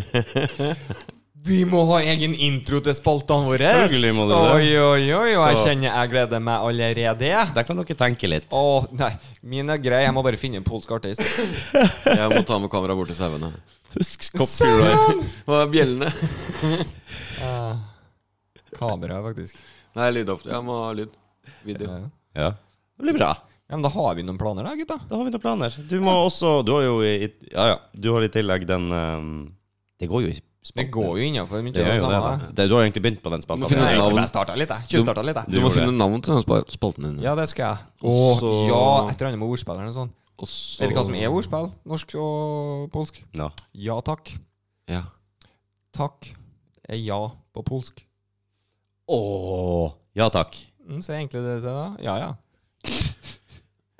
Speaker 2: Vi må ha egen intro til spaltene våre!
Speaker 1: Selvfølgelig må du det.
Speaker 2: Oi, oi, oi, og jeg
Speaker 1: Så-
Speaker 2: kjenner jeg gleder meg allerede.
Speaker 1: Der kan dere tenke litt.
Speaker 2: Å, nei. Min er grei. Jeg må bare finne en polsk artist.
Speaker 3: Jeg må ta med kameraet bort til sauene.
Speaker 1: Husk
Speaker 2: Sauron!
Speaker 3: Hva er bjellene?
Speaker 2: Eh, Kamera, faktisk.
Speaker 3: Nei, lyd opp. Jeg må ha lyd. Video.
Speaker 2: Ja,
Speaker 1: Ja. Det blir bra.
Speaker 2: men da har vi noen planer, da, gutta.
Speaker 1: Da har vi noen planer. Du må også Du har jo i Ja, ja. Du har i tillegg den ehm, Det går jo i
Speaker 2: Det går jo innafor mye.
Speaker 1: Det gjør
Speaker 2: det
Speaker 1: jo det,
Speaker 2: samme,
Speaker 1: da. det. Du har egentlig begynt på den
Speaker 3: Du
Speaker 1: spalta.
Speaker 3: må finne
Speaker 2: Nei,
Speaker 1: men-
Speaker 2: egentlig
Speaker 3: navn.
Speaker 2: bare starta litt, jeg. Tjuvstarta litt,
Speaker 3: Du
Speaker 2: jeg.
Speaker 1: Du
Speaker 3: må
Speaker 1: gjorde
Speaker 3: finne navn til den spa- spalten din.
Speaker 2: Ja, det skal jeg. Å
Speaker 3: Så-
Speaker 2: ja, et eller annet med ordspill eller noe sånt.
Speaker 3: Og så-
Speaker 2: Vet du hva som er ordspill? Norsk og polsk?
Speaker 1: Nå.
Speaker 2: Ja takk.
Speaker 3: Ja.
Speaker 2: Takk er ja på polsk.
Speaker 1: Åh, Ja takk.
Speaker 2: Mm, så er egentlig det det er, da. Ja ja.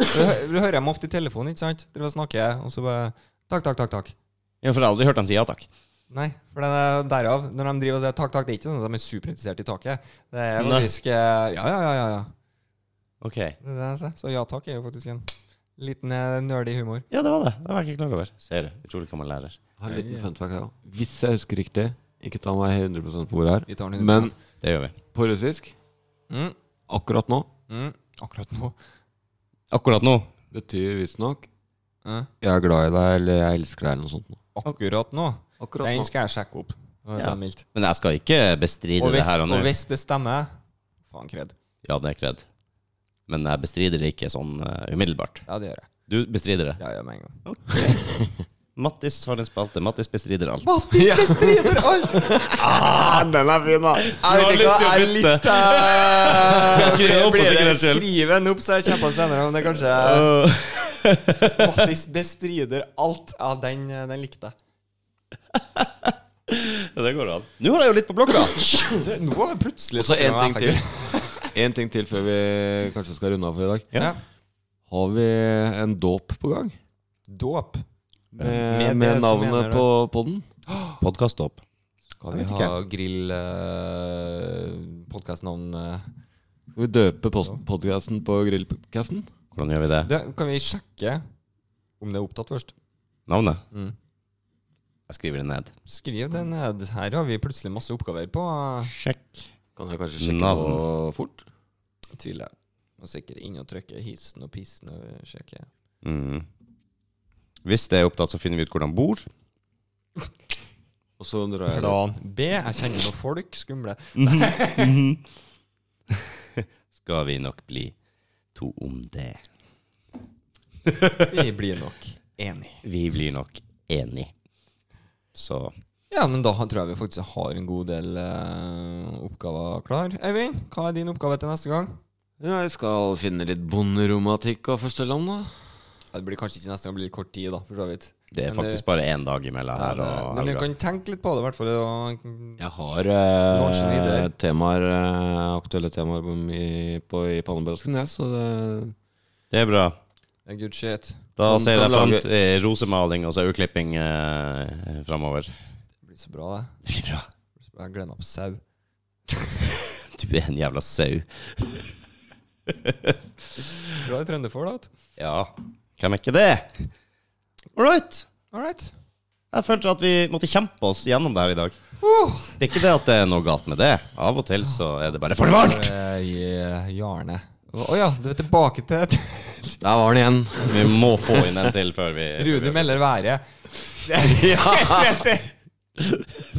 Speaker 2: Du, hø- du hører dem ofte i telefonen, ikke sant? Dere snakker, og så bare Takk, takk, takk, takk.
Speaker 1: Ja, for jeg har aldri hørt dem si ja takk.
Speaker 2: Nei, for den er derav. Når de driver og sier takk, takk, det er ikke sånn at de er superinteressert i taket. Det er
Speaker 1: Nei.
Speaker 2: faktisk eh, Ja, ja, ja, ja. ja.
Speaker 1: Ok.
Speaker 2: Det er det jeg sier. Så ja takk er jo faktisk en liten eh, nerdy humor.
Speaker 1: Ja, det var det. Det var jeg ikke klar over. Ser du. Utrolig hva man lærer.
Speaker 3: Jeg har en liten fun fact her også. Hvis jeg husker riktig, ikke ta meg 100 på ordet her,
Speaker 2: Vi tar den
Speaker 3: men
Speaker 1: Det gjør vi.
Speaker 3: på russisk
Speaker 2: mm,
Speaker 3: akkurat nå
Speaker 2: mm, Akkurat nå.
Speaker 1: Akkurat nå.
Speaker 3: betyr visstnok
Speaker 2: Eh,
Speaker 3: 'jeg er glad i deg' eller 'jeg elsker deg' eller noe sånt. nå.
Speaker 2: akkurat nå.
Speaker 3: Akkurat
Speaker 2: Den
Speaker 3: nå.
Speaker 2: skal jeg sjekke opp. for å si
Speaker 1: Ja.
Speaker 2: det mildt.
Speaker 1: Men jeg skal ikke bestride
Speaker 2: Og
Speaker 1: det
Speaker 2: hvis,
Speaker 1: her og nå.
Speaker 2: og hvis det stemmer Faen, kred.
Speaker 1: Ja, det er ikke redd. Men jeg bestrider det ikke sånn eh, umiddelbart.
Speaker 2: Ja, det gjør jeg.
Speaker 1: Du bestrider det.
Speaker 2: Ja, ja, med en gang.
Speaker 1: Mattis har en spalte. Mattis bestrider alt.
Speaker 2: Mattis bestrider alt!
Speaker 3: Ah, den er fin, da!
Speaker 1: har lyst til å bytte.
Speaker 2: Skal
Speaker 1: jeg skrive den opp for sikkerhets skyld?
Speaker 2: Skrive den opp, så jeg kjemper den senere. Men det er kanskje Mattis bestrider alt. Ja, den, den likte jeg.
Speaker 1: det går an. Nå har jeg jo litt på blokka.
Speaker 2: Så Nå har jeg plutselig
Speaker 3: Og så en ting til. En ting til før vi kanskje skal runde av for i dag.
Speaker 2: Ja.
Speaker 3: Har vi en dåp på gang?
Speaker 2: Dåp.
Speaker 3: Med,
Speaker 2: Med det
Speaker 3: med
Speaker 2: som mener
Speaker 3: navnet
Speaker 2: du.
Speaker 3: på podden?
Speaker 1: Podkastdåp.
Speaker 2: Skal
Speaker 1: Jeg
Speaker 2: vi
Speaker 1: vet
Speaker 2: ha eh, grill-podkastnavn
Speaker 3: Skal vi døpe podkasten på grillcasten?
Speaker 1: Hvordan gjør vi det?
Speaker 2: Kan vi sjekke om det er opptatt først?
Speaker 1: Navnet?
Speaker 2: Mm.
Speaker 1: Jeg skriver det ned.
Speaker 2: Skriv det ned. Her har vi plutselig masse oppgaver på.
Speaker 1: Sjekk.
Speaker 3: Kan jeg kanskje sjekke
Speaker 1: Navn.
Speaker 3: på fort?
Speaker 2: Tviler jeg. Må sikkert inn og trykke hissen og pissen og sjekke.
Speaker 1: Mm. Hvis det er opptatt, så finner vi ut hvor de bor.
Speaker 3: Og så drar jeg det.
Speaker 2: Plan B. Jeg kjenner noen folk. Skumle.
Speaker 1: Skal vi nok bli to om det.
Speaker 2: Vi blir nok enige.
Speaker 1: Vi blir nok enig. Så
Speaker 2: Ja, men da tror jeg vi faktisk har en god del eh, oppgaver klar. Eivind, hva er din oppgave til neste gang?
Speaker 3: Ja, jeg skal finne litt bonderomantikk av førsteland, da.
Speaker 2: Ja, det blir kanskje ikke neste gang, det blir litt kort tid, da, for så vidt.
Speaker 1: det er
Speaker 2: Men det-
Speaker 1: faktisk bare én dag imellom her og
Speaker 2: Men du
Speaker 1: helga.
Speaker 2: kan tenke litt på det, i hvert fall. Og,
Speaker 3: Jeg har
Speaker 2: Launch en
Speaker 3: eh,
Speaker 2: idé.
Speaker 3: temaer, eh, aktuelle temaer på, i, på, i pannebrasken, jeg, så det
Speaker 1: Det er bra.
Speaker 2: ja, good shit.
Speaker 1: Da
Speaker 3: Kan-
Speaker 1: ser
Speaker 3: kan
Speaker 1: jeg fram
Speaker 3: lage-
Speaker 1: til rosemaling og saueklipping eh, framover.
Speaker 2: Det blir så bra, det.
Speaker 1: Det blir bra.
Speaker 2: Det blir så bra. Jeg gleder meg på sau.
Speaker 1: Du er en jævla sau.
Speaker 2: Bra i Trønderfjord, da.
Speaker 1: Ja, hvem er ikke det? All right.
Speaker 2: All right.
Speaker 1: Jeg følte at vi måtte kjempe oss gjennom det her i dag. Det er ikke det at det er noe galt med det. Av og til så er det bare for varmt!
Speaker 2: Eh, ja, Jarne. Å ja, du er tilbake til et
Speaker 3: Der var den igjen!
Speaker 1: Vi må få inn en til før vi
Speaker 2: Rudi melder været.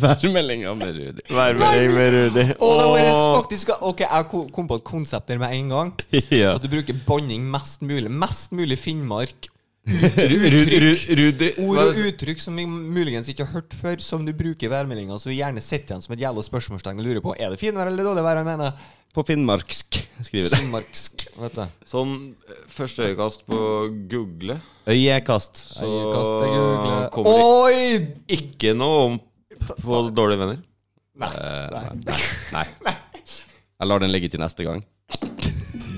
Speaker 1: Værmeldinga med Rudi.
Speaker 3: Værmelding med Rudi.
Speaker 2: Og det var faktisk Ok, jeg ko- kom på et konsept der med en gang.
Speaker 1: Ja.
Speaker 2: At du bruker banning mest mulig. Mest mulig Finnmark.
Speaker 3: Rudi
Speaker 2: Ord og uttrykk som vi muligens ikke har hørt før, som du bruker i værmeldinga, så vi gjerne sitter igjen som et jævla spørsmålstegn og lurer på Er det finvær eller dårlig vær, jeg mener.
Speaker 1: På finnmarksk, skriver det.
Speaker 2: Finnmarksk, vet du.
Speaker 3: Sånn eh, første øyekast på Google,
Speaker 1: Øyekast.
Speaker 3: så
Speaker 2: Øyekast til Google.
Speaker 3: kommer det
Speaker 2: Oi!
Speaker 3: ikke noe om på dårlige venner.
Speaker 1: Eh, nei. nei. Jeg lar den ligge til neste gang. Eh,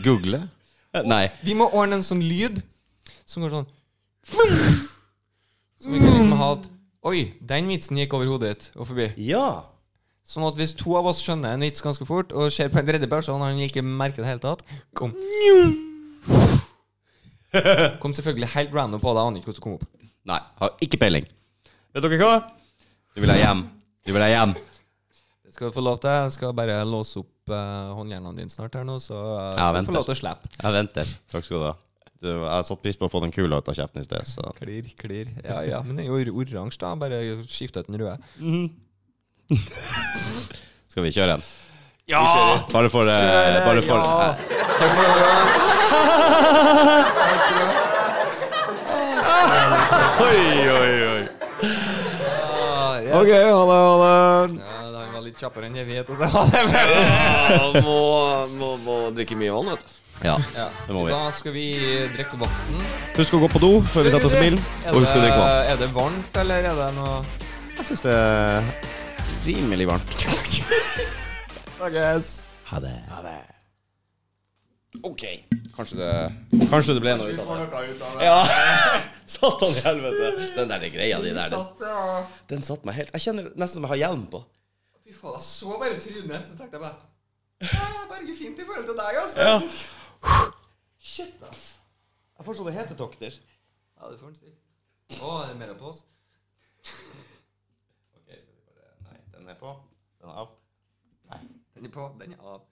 Speaker 3: Google?
Speaker 1: Nei.
Speaker 2: Vi må ordne en sånn lyd som går sånn Som vi kan liksom ha at Oi, den vitsen gikk over hodet ditt og forbi.
Speaker 1: Ja.
Speaker 2: Sånn at hvis to av oss skjønner en vits ganske fort, og ser på en tredjeperson og han ikke merker det i det hele tatt Kom. Kom selvfølgelig helt random på det, jeg aner ikke hvordan det kom opp.
Speaker 1: Nei, har ikke peiling. Vet dere hva? Du vil jeg hjem. Du vil jeg hjem.
Speaker 2: Det skal du få lov til. Jeg skal bare låse opp eh, håndjernene dine snart her nå, så eh,
Speaker 1: Ja,
Speaker 2: skal du
Speaker 1: venter.
Speaker 2: få lov til å slippe.
Speaker 1: Jeg venter. Takk skal du ha. Du, jeg satte pris på å få den kula ut av kjeften i sted, så
Speaker 2: Klir, klir. Ja, ja, men det er jo or- oransje, da. Bare skifte ut den røde.
Speaker 1: skal vi kjøre en.
Speaker 2: Ja!
Speaker 1: Bare for, eh, bare for eh,
Speaker 2: Takk for det.
Speaker 1: Oi, oi, oi.
Speaker 2: Ah, yes.
Speaker 3: Ok, ha det, ha det.
Speaker 2: Ja, da han var litt kjappere enn jeg vet, og så ha det bra.
Speaker 3: må, må, må drikke mye vann, vet du.
Speaker 1: Ja.
Speaker 2: Ja.
Speaker 1: Det må vi.
Speaker 2: Da skal vi drikke vann.
Speaker 1: Husk å gå på do før vi setter oss i bilen, og husk å drikke vann.
Speaker 2: Er det varmt, eller er det noe
Speaker 1: Jeg syns det er rimelig varmt. Ha det. OK. Kanskje det Kanskje det ble noe ut av det. Ja. Satan i helvete. Den der greia di der, den, den satt meg helt Jeg kjenner nesten som jeg har hjelm på.
Speaker 2: Fy faen, jeg så bare trynet, så tenkte jeg bare Jeg berger fint i forhold til deg, altså.
Speaker 1: Ja. Shit, ass. Jeg får sånne hetetokter.
Speaker 2: Ja, det får han si. Å, er det mer på oss?
Speaker 1: Ok, skal vi bare Nei, den er på. Den er av.
Speaker 2: Den er på, den er av.